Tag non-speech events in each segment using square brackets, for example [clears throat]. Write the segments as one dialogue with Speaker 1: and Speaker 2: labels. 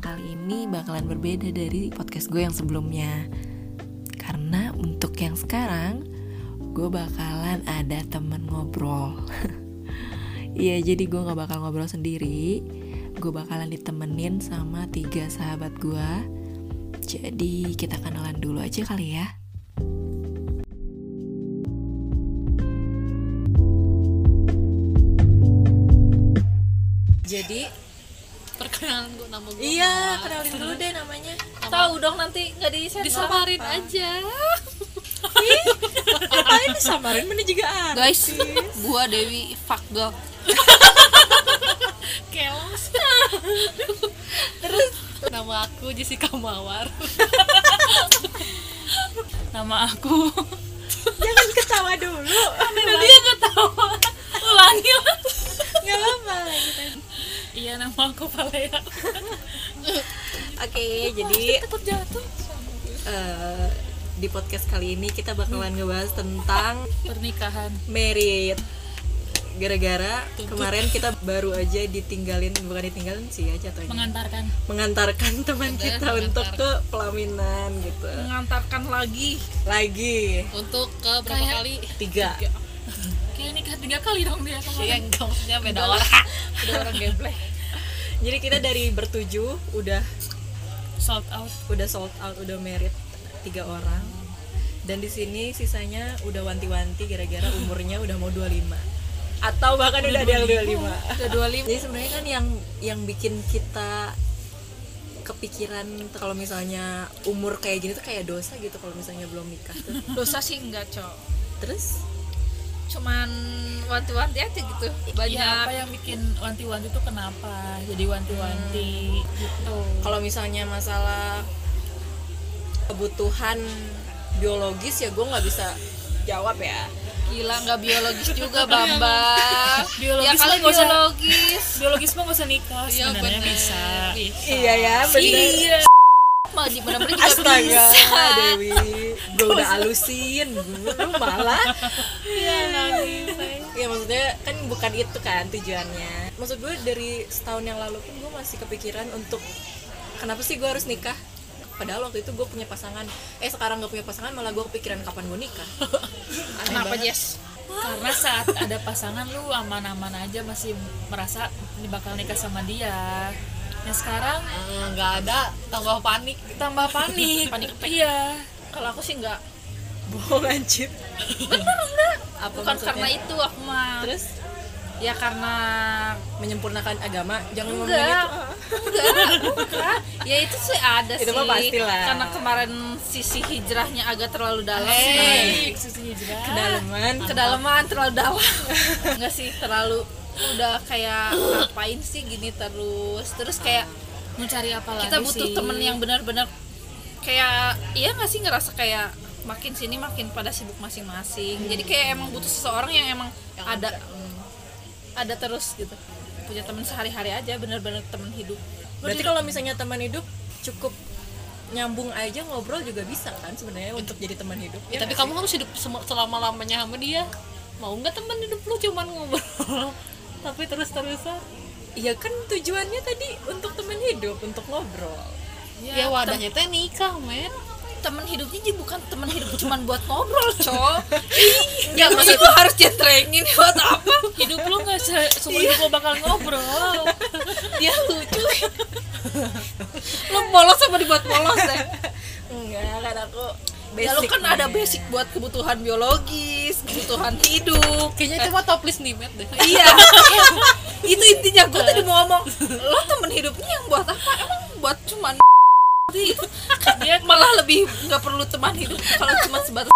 Speaker 1: kali ini bakalan berbeda dari podcast gue yang sebelumnya. Karena untuk yang sekarang, gue bakalan ada temen ngobrol. [laughs] Iya, jadi gue gak bakal ngobrol sendiri. Gue bakalan ditemenin sama tiga sahabat gue. Jadi kita kenalan dulu aja kali ya. Jadi
Speaker 2: perkenalan gue nama gue
Speaker 1: Iya, kenalin dulu deh namanya.
Speaker 3: Tahu dong nanti nggak di share
Speaker 2: disamarin aja
Speaker 1: Ngapain disamarin mana juga ada.
Speaker 3: Guys, gua Dewi fuck
Speaker 2: [laughs]
Speaker 3: girl.
Speaker 2: keos terus nama aku Jessica Mawar
Speaker 3: [laughs] Nama aku.
Speaker 1: Jangan ketawa dulu.
Speaker 3: dia ketawa. Ulangi lah.
Speaker 1: Gak apa-apa lanjut aja.
Speaker 2: iya nama aku Palea
Speaker 1: Oke, jadi
Speaker 2: tetap jatuh
Speaker 1: eh, di podcast kali ini kita bakalan ngebahas tentang
Speaker 3: Pernikahan.
Speaker 1: merit gara-gara kemarin kita baru aja ditinggalin bukan ditinggalin sih ya jatuhnya
Speaker 2: mengantarkan
Speaker 1: mengantarkan teman kita untuk ke pelaminan gitu
Speaker 2: Hmm.
Speaker 3: Mengantarkan lagi.
Speaker 1: lagi
Speaker 2: untuk ke berapa kali
Speaker 1: tiga
Speaker 2: kayak nikah tiga kali dong dia kan?
Speaker 3: Iya,
Speaker 2: kemarin
Speaker 3: enggak maksudnya [laughs] beda orang.
Speaker 2: udah orang gameplay
Speaker 1: jadi kita dari bertujuh udah
Speaker 2: sold out
Speaker 1: udah sold out udah merit tiga orang dan di sini sisanya udah wanti-wanti
Speaker 3: [gasps]
Speaker 1: gara-gara umurnya udah mau 25 atau bahkan udah ada yang 25
Speaker 3: Ke 25.
Speaker 1: Jadi sebenarnya kan yang yang bikin kita kepikiran tuh kalau misalnya umur kayak gini tuh kayak dosa gitu kalau misalnya belum nikah tuh.
Speaker 3: [laughs] Dosa sih enggak, Cok.
Speaker 1: Terus
Speaker 3: Cuman wanti-wanti aja gitu. Banyak
Speaker 2: Iya, apa yang bikin wanti-wanti itu kenapa jadi wanti-wanti
Speaker 3: Hmm.
Speaker 2: gitu
Speaker 3: Ya,
Speaker 1: kalau misalnya masalah kebutuhan biologis ya gue nggak bisa jawab ya.
Speaker 3: gila nggak biologis juga, Bambang.
Speaker 2: Biologis
Speaker 3: ya kali
Speaker 2: mah nggak usah.
Speaker 3: biologis.
Speaker 2: biologis mah gak usah nikah
Speaker 3: Iya,
Speaker 2: sebenarnya
Speaker 3: bener.
Speaker 2: bisa
Speaker 1: Iya ya bener.
Speaker 2: iya
Speaker 3: Mah di mana-mana juga
Speaker 1: Astaga
Speaker 3: bisa.
Speaker 1: Dewi, gue udah alusin, gue malah Ya maksudnya kan bukan itu kan tujuannya Maksud gue dari setahun yang lalu pun gue masih kepikiran untuk Kenapa sih gue harus nikah? Padahal waktu itu gue punya pasangan Eh sekarang gak punya pasangan malah gue kepikiran kapan gue nikah Aneh
Speaker 3: [laughs] Kenapa,
Speaker 1: banget.
Speaker 3: Jess?
Speaker 2: karena saat ada pasangan lu aman-aman aja masih merasa ini bakal nikah sama dia nah sekarang
Speaker 3: Eh, nggak ada tambah panik
Speaker 2: tambah panik
Speaker 3: [laughs] Panik attack.
Speaker 2: iya
Speaker 3: kalau aku sih nggak
Speaker 1: Bohong anjir Apa
Speaker 3: bukan
Speaker 1: maksudnya?
Speaker 3: karena itu aku mah
Speaker 1: Terus
Speaker 3: ya karena
Speaker 1: menyempurnakan agama Jangan ngomongin
Speaker 3: enggak
Speaker 1: itu
Speaker 3: enggak bukan ya itu sih ada
Speaker 1: Itu
Speaker 3: sih
Speaker 1: mah pastilah. Eh,
Speaker 3: karena kemarin sisi hijrahnya agak terlalu dalam
Speaker 2: Hey, susi hijrah
Speaker 1: Kedalaman
Speaker 3: kedalaman terlalu dalam enggak sih terlalu udah kayak ngapain sih gini terus terus kayak
Speaker 2: mau cari apa lagi
Speaker 3: kita butuh
Speaker 2: sih?
Speaker 3: temen yang benar-benar kayak iya nggak sih ngerasa kayak makin sini makin pada sibuk masing-masing jadi kayak emang butuh seseorang Hmm. yang emang ada ada terus gitu punya temen sehari-hari aja benar-benar temen hidup
Speaker 1: Berarti kalau misalnya teman hidup cukup nyambung aja ngobrol juga bisa kan sebenarnya untuk jadi teman hidup.
Speaker 4: Ya,
Speaker 1: Ya
Speaker 4: tapi
Speaker 1: nggak
Speaker 4: kamu harus hidup sem- selama-lamanya sama dia. Mau nggak teman hidup lu cuman ngobrol? tapi terus-terusan.
Speaker 1: sih? Iya kan tujuannya tadi untuk teman hidup, untuk ngobrol.
Speaker 2: Iya,
Speaker 4: Ya, wadahnya teh nikah, men.
Speaker 3: temen hidupnya jadi bukan temen hidup cuman buat ngobrol [laughs] cow Oh. nggak maksud gua harus jentrengin buat apa [laughs]
Speaker 2: hidup lu nggak se- seumur hidup lu bakal ngobrol
Speaker 3: dia lucu lu polos sama dibuat polos deh
Speaker 1: Enggak, kan aku
Speaker 3: ya lu kan ada basic buat kebutuhan biologis kebutuhan hidup
Speaker 4: Kayaknya itu mah toples nih, Met, deh.
Speaker 3: [laughs] iya itu intinya gue tadi mau ngomong lo temen hidupnya yang buat apa emang buat cuman [laughs] itu
Speaker 2: dia
Speaker 3: [laughs] malah lebih nggak perlu teman hidup kalau cuma sebatas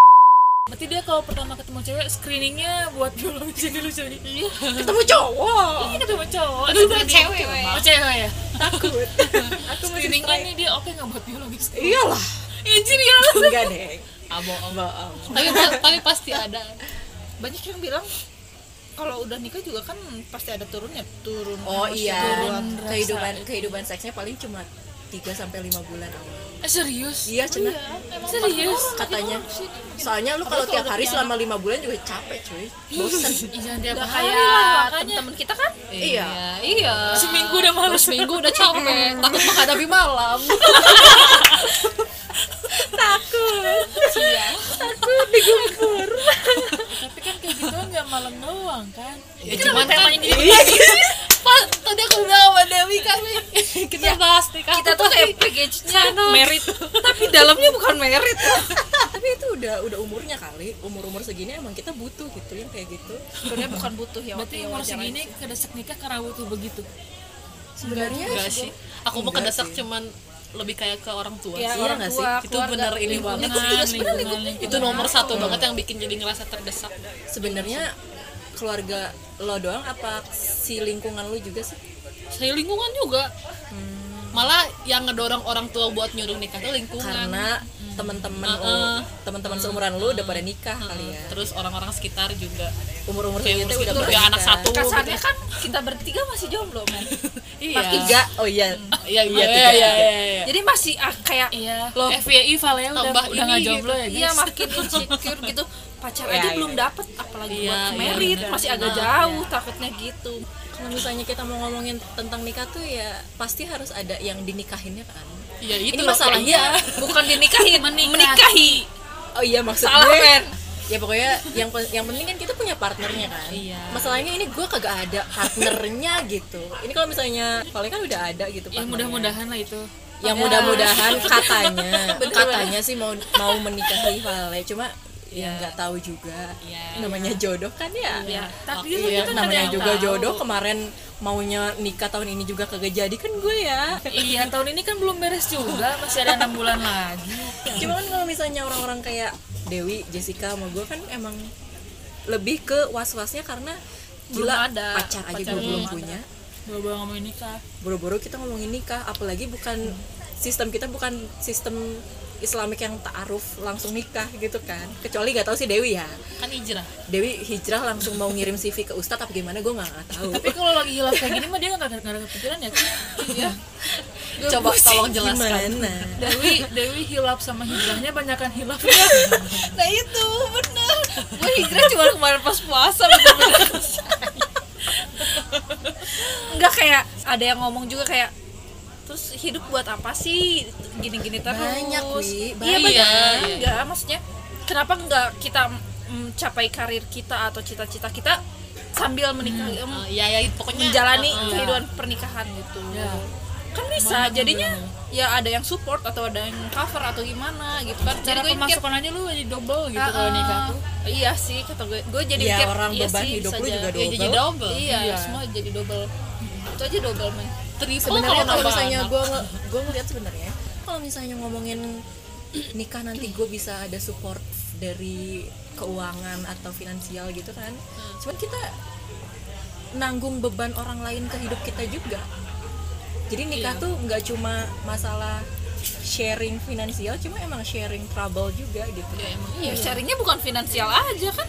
Speaker 2: berarti dia kalau pertama ketemu cewek screeningnya buat biologi dulu [laughs] jadi iya
Speaker 1: ketemu cowok.
Speaker 2: ini ketemu cowok
Speaker 4: Aduh,
Speaker 2: Screening.
Speaker 4: buat cewek, weh.
Speaker 2: oh cewek ya
Speaker 1: Takut. aku masih
Speaker 2: screening Iya. kan
Speaker 1: strike.
Speaker 2: nih dia oke nggak buat biologi screening
Speaker 1: Iyalah.
Speaker 2: Anjir ya
Speaker 1: Enggak [laughs] deh.
Speaker 4: Abo.
Speaker 1: Bohong.
Speaker 4: Tapi pa- tapi pasti ada.
Speaker 3: banyak yang bilang kalau udah nikah juga kan pasti ada turunnya turun
Speaker 1: Oh iya,
Speaker 3: turun
Speaker 1: kehidupan kehidupan seksnya paling cuma 3 sampai 5 bulan awal.
Speaker 2: Eh serius?
Speaker 1: Iya, Cenah.
Speaker 4: Emang
Speaker 2: Serius?
Speaker 1: Katanya. Soalnya lu kalau Iya. tiap hari selama 5 bulan juga capek, cuy. Bosen.
Speaker 2: Ih, Jangan tiap hari lah
Speaker 3: kayak temen-temen kita kan
Speaker 1: Iya. [laughs]
Speaker 4: iya
Speaker 2: Eh, Seminggu udah malu
Speaker 4: seminggu udah
Speaker 2: [laughs]
Speaker 4: capek takut menghadapi malam
Speaker 2: Iya. Tapi kan kayak gitu nggak malam doang kan
Speaker 4: ya, cuman kan
Speaker 3: temanya gitu
Speaker 4: Pak, tadi aku bilang sama Dewi kami Iya. kita bahas nih
Speaker 3: kita Eh, tuh kayak package-nya merit tapi dalamnya bukan merit
Speaker 1: Tapi itu udah udah umurnya kali. Umur-umur segini emang kita butuh gitu yang kayak gitu.
Speaker 3: sebenarnya bukan butuh ya
Speaker 2: Berarti
Speaker 3: waktu
Speaker 2: umur
Speaker 3: wawancara
Speaker 2: segini kedesek nikah karena butuh begitu
Speaker 1: Sebenarnya
Speaker 4: enggak sih aku mau
Speaker 1: Enggak
Speaker 4: kedesak
Speaker 1: sih.
Speaker 4: cuman lebih kayak ke orang tua
Speaker 3: ya,
Speaker 1: Iya
Speaker 4: sih.
Speaker 3: orang
Speaker 1: nggak
Speaker 3: tua,
Speaker 4: itu
Speaker 3: keluarga,
Speaker 4: bener ini
Speaker 3: lingkungan.
Speaker 4: banget sih itu Iya, sebenarnya
Speaker 2: lingkungan,
Speaker 4: lingkungan.
Speaker 2: lingkungan.
Speaker 4: itu nomor satu banget yang bikin jadi ngerasa terdesak
Speaker 1: sebenarnya keluarga lo doang apa si lingkungan lu juga sih?
Speaker 4: saya lingkungan juga malah yang ngedorong orang tua buat nyuruh nikah tuh lingkungan
Speaker 1: Karena teman-teman
Speaker 4: Hmm. Heeh. Hmm.
Speaker 1: lu- teman-teman seumuran lu udah pada nikah kali ya.
Speaker 4: terus orang-orang sekitar juga
Speaker 1: Umur-umur
Speaker 4: Kayak
Speaker 1: segini
Speaker 4: umur
Speaker 1: tuh udah
Speaker 4: segitu
Speaker 1: pada
Speaker 4: Iya, udah anak
Speaker 1: nikah.
Speaker 4: satu gitu.
Speaker 3: kasarnya kan kita bertiga masih jomblo men
Speaker 4: iya
Speaker 1: Pak tiga, oh iya.
Speaker 4: [laughs] iya
Speaker 1: Iya,
Speaker 4: iya iya
Speaker 1: tiga,
Speaker 4: iya
Speaker 1: tiga.
Speaker 4: iya.
Speaker 3: jadi masih ah, kayak
Speaker 2: Iya
Speaker 4: Loh.
Speaker 2: FYI Valeo udah, udah
Speaker 4: Tambah ini gitu.
Speaker 2: nggak jomblo ya guys
Speaker 3: iya makin insecure gitu pacar
Speaker 1: Iya,
Speaker 3: aja
Speaker 1: iya.
Speaker 3: belum dapet apalagi
Speaker 4: Iya,
Speaker 3: buat
Speaker 4: iya,
Speaker 3: merit
Speaker 4: bener.
Speaker 3: masih agak
Speaker 4: Nah,
Speaker 3: jauh takutnya gitu
Speaker 1: Kalau misalnya kita mau ngomongin tentang nikah tuh ya pasti harus ada yang dinikahinnya kan.
Speaker 4: Iya, itu
Speaker 1: Ini
Speaker 4: loh,
Speaker 1: masalahnya.
Speaker 3: bukan
Speaker 2: [laughs]
Speaker 3: dinikahi menikahi, menikahi.
Speaker 1: [laughs] Oh iya maksud
Speaker 3: salah
Speaker 1: gue.
Speaker 3: men
Speaker 1: Ya pokoknya yang pe- yang penting kan kita punya partnernya kan.
Speaker 4: Iya.
Speaker 1: Masalahnya ini gue kagak ada partnernya gitu. Ini kalau misalnya paling kan udah ada gitu.
Speaker 2: Ya
Speaker 4: Iya,
Speaker 1: partnernya.
Speaker 2: mudah-mudahan lah itu
Speaker 1: yang mudah-mudahan katanya katanya sih mau mau menikahi Vale cuma ya nggak tahu juga
Speaker 4: Iya.
Speaker 1: namanya jodoh kan ya
Speaker 4: Iya.
Speaker 2: Tapi itu
Speaker 4: Waktu
Speaker 1: Iya,
Speaker 2: kan ada
Speaker 1: namanya
Speaker 2: yang
Speaker 1: juga
Speaker 2: tahu.
Speaker 1: jodoh kemarin maunya nikah tahun ini juga kagak jadi kan gue ya
Speaker 2: Iya tahun ini kan belum beres juga Masih ada enam bulan lagi
Speaker 1: cuma kan kalau misalnya orang-orang kayak Dewi Jessica sama gue kan emang lebih ke was-wasnya karena
Speaker 3: Belum
Speaker 1: gila
Speaker 3: ada.
Speaker 1: pacar aja
Speaker 2: Pacar
Speaker 1: gue
Speaker 2: belum
Speaker 1: belum
Speaker 2: ada.
Speaker 1: punya
Speaker 2: Bawa-bawa ngomongin nikah
Speaker 1: boro-boro kita ngomongin nikah apalagi bukan sistem kita bukan sistem Islamik yang ta'aruf langsung nikah gitu kan kecuali gak tahu sih Dewi ya
Speaker 4: kan hijrah
Speaker 1: Dewi hijrah langsung mau ngirim CV ke Ustadz apa gimana gue nggak nggak tahu
Speaker 2: Tapi kalau lagi hilaf kayak gini mah dia nggak nggak ada kepikiran ya kan?
Speaker 4: coba tolong jelaskan
Speaker 1: gimana
Speaker 2: Dewi Dewi hilaf sama hijrahnya banyakan hilafnya
Speaker 3: nah itu bener gue hijrah cuma kemarin pas puasa bener-bener enggak kayak ada yang ngomong juga kayak terus hidup buat apa sih gini-gini terus
Speaker 1: Banyak, Wi,
Speaker 3: iya
Speaker 1: banyak.
Speaker 3: banyak
Speaker 4: Iya.
Speaker 3: enggak maksudnya kenapa enggak kita mencapai karir kita atau cita-cita kita sambil menikah em,
Speaker 1: Hmm.
Speaker 4: Eh, ya ya
Speaker 1: Iya.
Speaker 4: pokoknya
Speaker 3: menjalani
Speaker 4: eh, eh,
Speaker 3: kehidupan pernikahan gitu
Speaker 2: Ya.
Speaker 3: kan bisa jadinya ya ada yang support atau ada yang cover atau gimana gitu kan
Speaker 2: Cara
Speaker 3: gue mikir,
Speaker 2: pemasukan aja lu jadi double gitu
Speaker 3: Ah,
Speaker 2: kalau nikah
Speaker 3: ah.
Speaker 2: tuh
Speaker 3: Iya sih kata gue. Gue jadi
Speaker 1: Iya,
Speaker 3: mikir,
Speaker 1: orang
Speaker 3: iya
Speaker 1: beban
Speaker 3: sih,
Speaker 1: hidup
Speaker 3: bisa
Speaker 1: lu juga
Speaker 3: jadi.
Speaker 4: ya jadi double
Speaker 3: Iya,
Speaker 2: Iya.
Speaker 3: semua jadi double. Itu aja double men.
Speaker 4: triple
Speaker 1: sebenarnya kalau
Speaker 4: nambah
Speaker 1: misalnya
Speaker 4: anak.
Speaker 1: gue gue ngeliat sebenarnya kalau misalnya ngomongin nikah nanti gue bisa ada support dari keuangan atau finansial gitu kan
Speaker 3: Hmm.
Speaker 1: cuman kita nanggung beban orang lain ke hidup kita juga jadi nikah
Speaker 3: Iya.
Speaker 1: tuh nggak cuma masalah sharing finansial cuma emang sharing trouble juga gitu
Speaker 4: Ya, emang.
Speaker 3: Iya, sharingnya bukan finansial aja kan.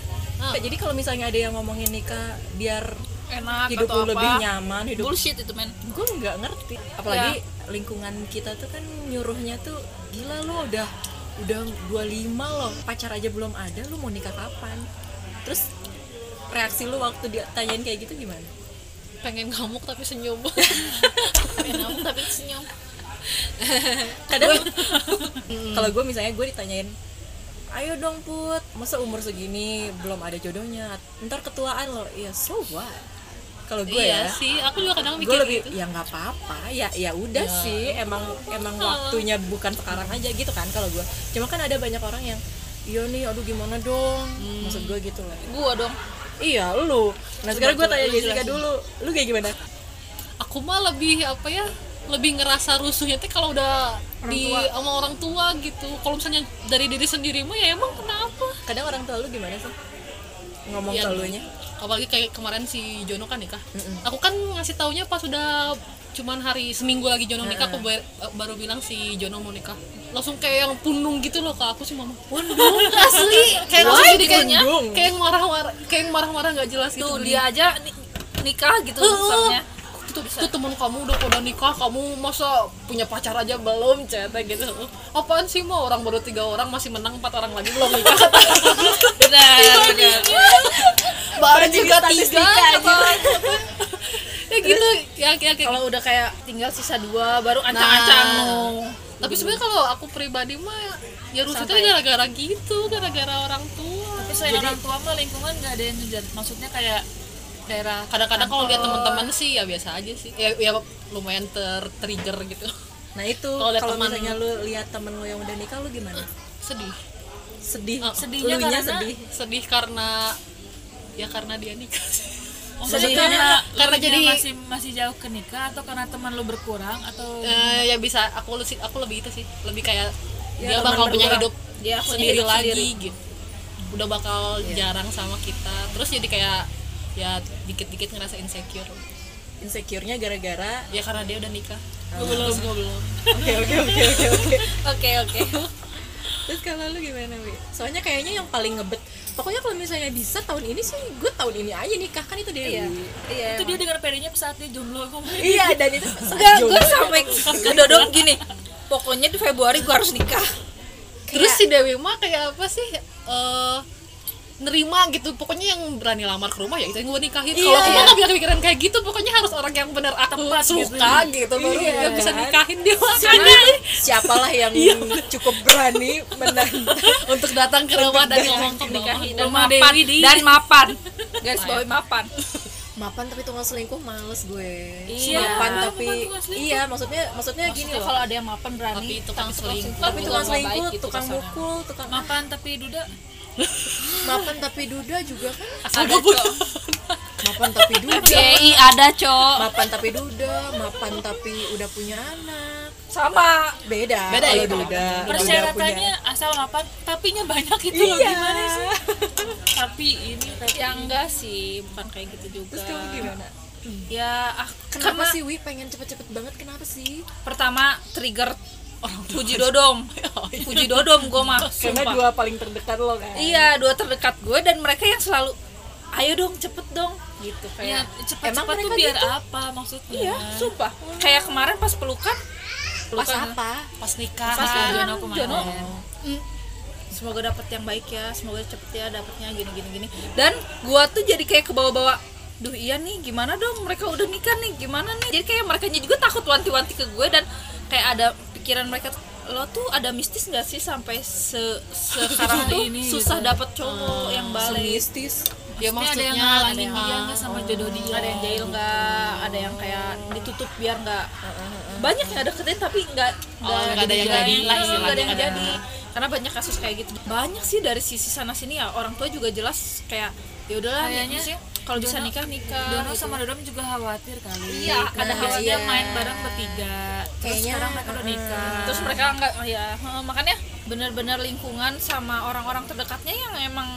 Speaker 1: jadi kalau misalnya ada yang ngomongin nikah biar
Speaker 3: Enak
Speaker 1: hidup
Speaker 3: atau
Speaker 1: lu
Speaker 3: apa.
Speaker 1: lebih nyaman hidup
Speaker 3: Bullshit itu men.
Speaker 1: gue nggak ngerti apalagi
Speaker 4: Ya.
Speaker 1: lingkungan kita tuh kan nyuruhnya tuh gila lo udah udah 25 loh pacar aja belum ada lu mau nikah kapan terus reaksi lu waktu dia tanyain kayak gitu gimana
Speaker 4: pengen ngamuk
Speaker 1: [laughs]
Speaker 4: tapi senyum
Speaker 3: Enak tapi senyum.
Speaker 1: kadang [laughs] kalau gue misalnya gue ditanyain ayo dong put masa umur segini belum ada jodohnya ntar ketuaan lo ya so what kalau gue
Speaker 4: iya
Speaker 1: ya
Speaker 4: sih aku juga kadang mikir
Speaker 1: gue lebih
Speaker 4: gitu Iya.
Speaker 1: ya nggak apa-apa ya ya udah sih emang emang waktunya bukan sekarang aja gitu kan kalau gue cuma kan ada banyak orang yang iya nih aduh gimana dong
Speaker 4: Hmm.
Speaker 1: maksud gue gitu loh
Speaker 3: Gua dong.
Speaker 1: iya lu nah sekarang gue
Speaker 4: coba,
Speaker 1: tanya
Speaker 4: lu
Speaker 1: Jessica
Speaker 4: jelasin.
Speaker 1: dulu lu kayak gimana
Speaker 4: aku mah lebih apa ya lebih ngerasa rusuhnya teh kalau udah di sama orang tua gitu kalau misalnya dari diri sendiri mah ya emang kenapa
Speaker 1: kadang orang tua lu gimana sih ngomong
Speaker 4: Iya.
Speaker 1: ke lu nya
Speaker 4: apalagi kayak kemarin si Jono kan nikah aku kan ngasih taunya pas udah cuman hari seminggu lagi Jono nikah aku bar- baru bilang si Jono mau nikah langsung kayak yang pundung gitu loh ke aku sih mama pundung asli kayak
Speaker 1: Why
Speaker 4: langsung jadi kayaknya
Speaker 1: pundung?
Speaker 4: kayak yang marah-marah kayak yang marah-marah nggak jelas gitu
Speaker 3: Tuh dia aja ni- nikah gitu misalnya.
Speaker 4: [laughs] tuh, tuh teman kamu udah pada nikah kamu masa punya pacar aja belum cetek gitu apaan sih mau orang baru tiga orang masih menang empat orang lagi belum
Speaker 3: [laughs]
Speaker 4: nikah Iya,
Speaker 2: benar benar
Speaker 4: baru juga tiga kata. [laughs] ya gitu ya, ya, kayak
Speaker 3: gitu.
Speaker 4: Nah,
Speaker 3: kalau udah kayak tinggal sisa dua baru ancang-ancang Gitu.
Speaker 4: tapi sebenarnya kalau aku pribadi mah ya rusutnya
Speaker 3: Santai.
Speaker 4: gara-gara gitu gara-gara orang tua
Speaker 2: tapi selain orang tua mah lingkungan nggak ada yang ngejar maksudnya kayak daerah
Speaker 4: kadang-kadang kalau
Speaker 1: Oh.
Speaker 4: lihat teman-teman sih ya biasa aja sih ya, ya lumayan ter trigger gitu
Speaker 1: nah itu
Speaker 4: Kalau lihat
Speaker 1: kalau
Speaker 4: teman-
Speaker 1: misalnya lu lihat temen lu yang udah nikah lu gimana
Speaker 4: sedih Oh,
Speaker 1: sedih
Speaker 2: sedihnya
Speaker 1: Elunya
Speaker 2: karena-
Speaker 1: sedih
Speaker 4: sedih karena ya karena dia nikah sih.
Speaker 2: maksudnya
Speaker 1: Sedihnya
Speaker 2: karena
Speaker 4: karena
Speaker 2: karena jadi
Speaker 4: jadi-
Speaker 2: masih masih jauh ke nikah atau karena teman lu berkurang
Speaker 1: Oh.
Speaker 2: atau
Speaker 4: Eh, ya bisa aku lu- aku lebih itu sih lebih kayak
Speaker 1: Ya,
Speaker 4: dia
Speaker 1: teman
Speaker 4: bakal punya
Speaker 1: berkurang.
Speaker 4: hidup
Speaker 3: Dia punya
Speaker 4: sendiri
Speaker 3: hidup
Speaker 4: lagi
Speaker 3: sendiri.
Speaker 4: gitu udah bakal
Speaker 1: Iya.
Speaker 4: jarang sama kita terus jadi kayak ya dikit-dikit ngerasa insecure
Speaker 1: insecure-nya gara-gara
Speaker 4: ya karena dia udah nikah
Speaker 1: Oh, iya.
Speaker 4: gue belum gue belum
Speaker 1: oke oke oke oke oke
Speaker 3: oke oke
Speaker 1: terus kalau lu gimana Wi? soalnya kayaknya yang paling ngebet pokoknya kalau misalnya bisa tahun ini sih gue tahun ini aja nikah kan itu dia
Speaker 3: iya iya
Speaker 2: itu dia dengan pedenya saat dia jomblo kamu
Speaker 1: iya [laughs] dan itu
Speaker 3: enggak gue sampai ke dodong gini pokoknya di Februari gue harus nikah
Speaker 4: Terus si Dewi mah kayak apa sih? eh nerima gitu pokoknya yang berani lamar ke rumah ya itu yang gue nikahin kalau aku mah nggak punya pikiran kayak gitu pokoknya harus orang yang bener aku suka gitu, baru
Speaker 1: Iya.
Speaker 4: gak bisa nikahin dia
Speaker 1: karena
Speaker 4: makanya
Speaker 1: siapalah yang cukup berani menantang
Speaker 4: [laughs] untuk datang ke rumah dan ngomong ke bawah
Speaker 3: nikahin dan
Speaker 2: Rumah
Speaker 3: mapan
Speaker 2: Dewi di-
Speaker 3: dan mapan Iya. garis bawahi mapan
Speaker 1: mapan tapi tukang selingkuh males gue
Speaker 2: Iya,
Speaker 1: mapan
Speaker 2: mapan
Speaker 1: tapi
Speaker 2: tukang selingkuh.
Speaker 1: iya maksudnya maksudnya gini loh
Speaker 3: ada yang mapan
Speaker 4: tapi tukang selingkuh
Speaker 1: tapi tukang
Speaker 3: nggak baik
Speaker 1: selingkuh
Speaker 3: itu
Speaker 1: tukang
Speaker 3: pasangan.
Speaker 1: mukul tukang
Speaker 2: mapan tapi duda
Speaker 1: [laughs] mapan tapi duda juga kan
Speaker 4: ada cowok
Speaker 1: mapan tapi [laughs] duda
Speaker 3: GI ada cok
Speaker 1: mapan tapi duda mapan tapi udah punya anak
Speaker 3: sama
Speaker 1: beda
Speaker 4: Beda
Speaker 1: kalau
Speaker 4: ya, kalau
Speaker 1: duda
Speaker 2: persyaratannya asal mapan tapinya banyak itu loh
Speaker 1: Iya.
Speaker 2: gimana sih tapi ini tapi
Speaker 3: ya enggak sih bukan kayak gitu juga
Speaker 1: terus kamu gimana
Speaker 3: ya ah,
Speaker 1: kenapa
Speaker 3: karena
Speaker 1: sih Wi pengen cepet-cepet banget kenapa sih
Speaker 3: pertama trigger puji dodom puji dodom gue mah sumpah.
Speaker 1: paling terdekat lo kan
Speaker 3: Iya, dua terdekat gue dan mereka yang selalu ayo dong cepet dong gitu
Speaker 2: ya
Speaker 3: kayak
Speaker 1: Emang
Speaker 2: cepat-cepat tuh
Speaker 1: mereka
Speaker 2: biar
Speaker 1: gitu?
Speaker 2: apa maksudnya
Speaker 3: iya sumpah kayak kemarin pas pelukan
Speaker 1: pas apa
Speaker 4: pas nikah
Speaker 2: pas kan,
Speaker 3: Ah,
Speaker 2: Jono
Speaker 3: Jono.
Speaker 2: kemarin
Speaker 3: Mm. semoga dapat yang baik ya semoga cepet ya dapatnya gini gini gini dan gue tuh jadi kayak kebawa-bawa duh iya nih gimana dong mereka udah nikah nih gimana nih jadi kayak mereka juga takut wanti-wanti ke gue dan kayak ada pikiran mereka tuh, lo tuh ada mistis nggak sih sampai se sekarang
Speaker 2: Susah
Speaker 3: tuh
Speaker 2: ini,
Speaker 3: susah
Speaker 2: gitu.
Speaker 3: dapat cowok yang balik
Speaker 1: mistis
Speaker 2: Maksudnya
Speaker 4: ya
Speaker 2: ada
Speaker 4: maksudnya
Speaker 2: yang
Speaker 4: ada
Speaker 2: ngalangin
Speaker 4: yang
Speaker 2: dia nggak sama jodoh dia
Speaker 3: ada yang
Speaker 4: Gitu.
Speaker 3: jahil nggak ada yang kayak ditutup biar nggak banyak yang deketin tapi nggak
Speaker 4: Oh, nggak ada yang jadi
Speaker 3: nggak
Speaker 4: lah
Speaker 3: ada yang
Speaker 4: istilahnya.
Speaker 3: jadi karena banyak kasus kayak gitu banyak sih dari sisi sana sini ya orang tua juga jelas kayak ya udahlah
Speaker 2: Kayaknya
Speaker 3: maksudnya kalau bisa
Speaker 2: Jono-
Speaker 3: nikah nikah
Speaker 2: Dono
Speaker 3: gitu.
Speaker 2: sama Dodom juga khawatir kali
Speaker 3: Iya,
Speaker 2: ada
Speaker 1: nah,
Speaker 2: khawatir
Speaker 1: iya.
Speaker 2: main bareng bertiga terus
Speaker 1: Kayaknya,
Speaker 2: sekarang mereka udah
Speaker 1: mm,
Speaker 2: nikah
Speaker 3: terus mereka nggak oh ya heeh, makanya benar-benar lingkungan sama orang-orang terdekatnya yang emang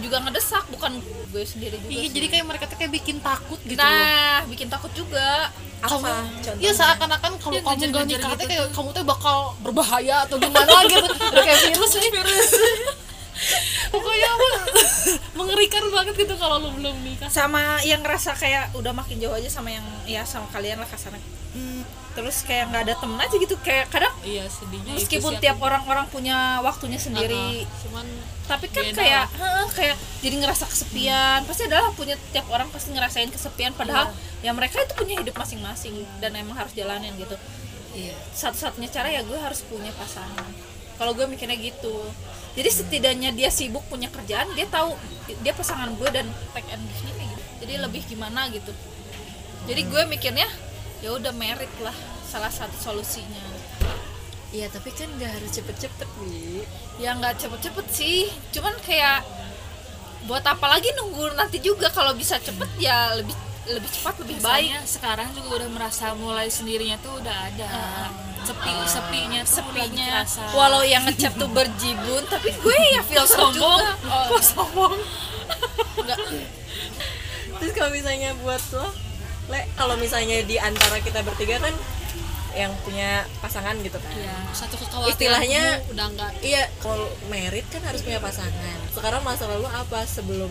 Speaker 3: juga ngedesak bukan gue sendiri juga
Speaker 4: iya
Speaker 3: sih.
Speaker 4: jadi kayak mereka tuh kayak bikin takut gitu
Speaker 3: nah bikin takut juga
Speaker 1: apa
Speaker 4: Iya seakan-akan kalau
Speaker 2: Yang
Speaker 4: kamu gak
Speaker 2: ngejar-ngejar
Speaker 4: nikah
Speaker 2: gitu
Speaker 4: tuh kayak kamu tuh bakal berbahaya atau gimana gitu. Udah kayak virus nih. [laughs] Pokoknya apa? Mengerikan banget gitu kalau lu belum nikah.
Speaker 3: sama yang ngerasa kayak udah makin jauh aja sama yang ya sama kalian lah kasarnya terus kayak nggak ada temen aja gitu kayak kadang
Speaker 4: Hmm. Iya sedihnya
Speaker 3: meskipun
Speaker 4: itu sih
Speaker 3: tiap
Speaker 4: aku.
Speaker 3: orang-orang punya waktunya sendiri
Speaker 4: Ah, cuman
Speaker 3: tapi kan
Speaker 4: Beda
Speaker 3: kayak heeh, kayak jadi ngerasa kesepian pasti adalah punya tiap orang pasti ngerasain kesepian padahal ya mereka itu punya hidup masing-masing dan emang harus jalanin gitu satu-satunya cara ya gue harus punya pasangan kalau gue mikirnya gitu jadi setidaknya dia sibuk punya kerjaan dia tahu dia pasangan gue dan take and give kayak gitu jadi lebih gimana gitu jadi gue mikirnya ya udah merit lah salah satu solusinya
Speaker 1: iya tapi kan nggak harus cepet-cepet Wi
Speaker 3: ya nggak cepet-cepet sih cuman kayak buat apa lagi nunggu nanti juga kalau bisa cepet ya lebih lebih cepat lebih
Speaker 2: Biasanya
Speaker 3: baik
Speaker 2: sekarang juga udah merasa mulai sendirinya tuh udah ada sepi sepinya tuh lagi
Speaker 3: Ah, sepinya
Speaker 2: kerasa.
Speaker 3: walau yang ngechat tuh berjibun tapi gue ya
Speaker 2: [laughs]
Speaker 3: filter
Speaker 2: sombong.
Speaker 3: juga oh, sombong
Speaker 1: terus kalau misalnya buat lo le kalau misalnya di antara kita bertiga kan yang punya pasangan gitu kan
Speaker 2: Iya.
Speaker 4: satu kekhawatiran
Speaker 1: Istilahnya-
Speaker 4: kamu udah enggak
Speaker 1: iya kalau merit kan harus punya pasangan sekarang masa lalu apa sebelum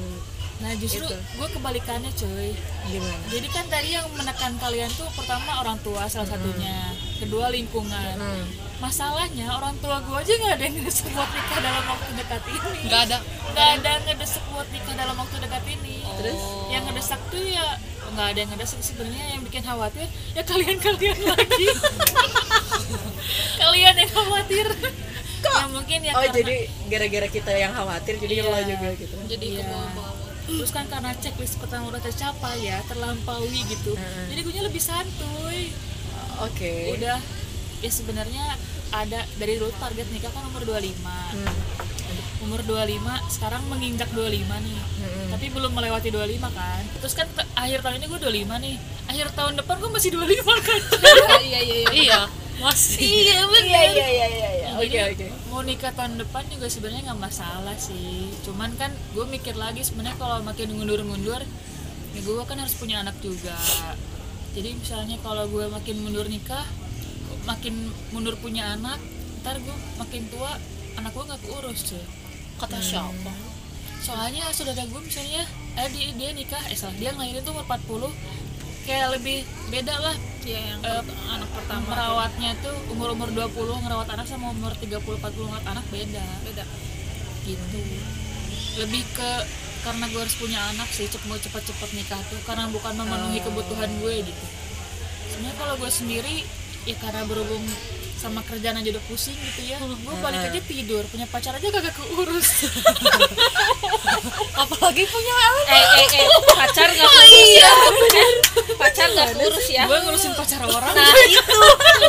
Speaker 2: Nah justru
Speaker 3: Itu.
Speaker 2: gue kebalikannya cuy.
Speaker 1: gimana
Speaker 2: Jadi kan tadi yang menekan kalian tuh pertama orang tua salah satunya, kedua lingkungan.
Speaker 1: Hmm.
Speaker 2: Masalahnya orang tua gue aja nggak ada yang ngedesek buat nikah dalam waktu dekat ini.
Speaker 4: nggak ada
Speaker 2: Nggak ada ngedesek buat nikah dalam waktu dekat ini.
Speaker 4: Terus?
Speaker 2: yang ngedesak tuh ya nggak ada yang ngedesak sebenarnya yang bikin khawatir ya kalian kalian [laughs] lagi. kalian yang khawatir. Kok? Ya mungkin ya
Speaker 1: oh
Speaker 2: karena-
Speaker 1: jadi gara-gara kita yang khawatir jadi
Speaker 2: Iya.
Speaker 1: lo juga gitu
Speaker 4: jadi
Speaker 2: Iya. Terus kan karena checklist pertama udah tercapai ya, terlampaui gitu.
Speaker 1: Heeh.
Speaker 2: Jadi gue lebih santuy.
Speaker 1: oke
Speaker 2: Udah ya sebenarnya ada dari dulu target nikah kan umur 25. Umur 25 sekarang menginjak 25 nih. Tapi belum melewati 25 kan. Terus kan te- akhir tahun ini gue 25 nih. Akhir tahun depan gue masih 25 kan.
Speaker 3: iya iya iya
Speaker 4: iya masih
Speaker 3: iya
Speaker 1: iya
Speaker 3: bener
Speaker 1: iya iya iya iya oke oke
Speaker 2: Mau nikah tahun depan juga sebenarnya nggak masalah sih. Cuman kan gue mikir lagi sebenarnya kalau makin ngundur-ngundur, ya gue kan harus punya anak juga. Jadi misalnya kalau gue makin mundur nikah, makin mundur punya anak, ntar gue makin tua anak gue nggak keurus cuy.
Speaker 4: kata siapa
Speaker 2: Soalnya saudara gue misalnya, eh dia, dia nikah, eh salah dia ngelahirin tuh umur 40 kayak lebih beda lah
Speaker 3: Iya, yang
Speaker 2: Eh,
Speaker 3: anak pertama
Speaker 2: merawatnya tuh umur-umur 20 ngerawat anak sama umur 30 40 ngerawat anak beda
Speaker 3: beda
Speaker 2: gitu lebih ke karena gue harus punya anak sih cep mau cepet-cepet nikah tuh karena bukan memenuhi
Speaker 3: Oh.
Speaker 2: kebutuhan gue gitu sebenarnya kalau gue sendiri ya karena berhubung sama kerjaan aja udah pusing gitu ya
Speaker 3: Hmm.
Speaker 2: gue balik aja tidur punya pacar aja kagak keurus
Speaker 4: apalagi punya
Speaker 3: [laughs] eh eh eh pacar nggak kurus ya [laughs] pacar nggak kurus ya
Speaker 2: gue ngurusin pacar orang
Speaker 3: [laughs] nah itu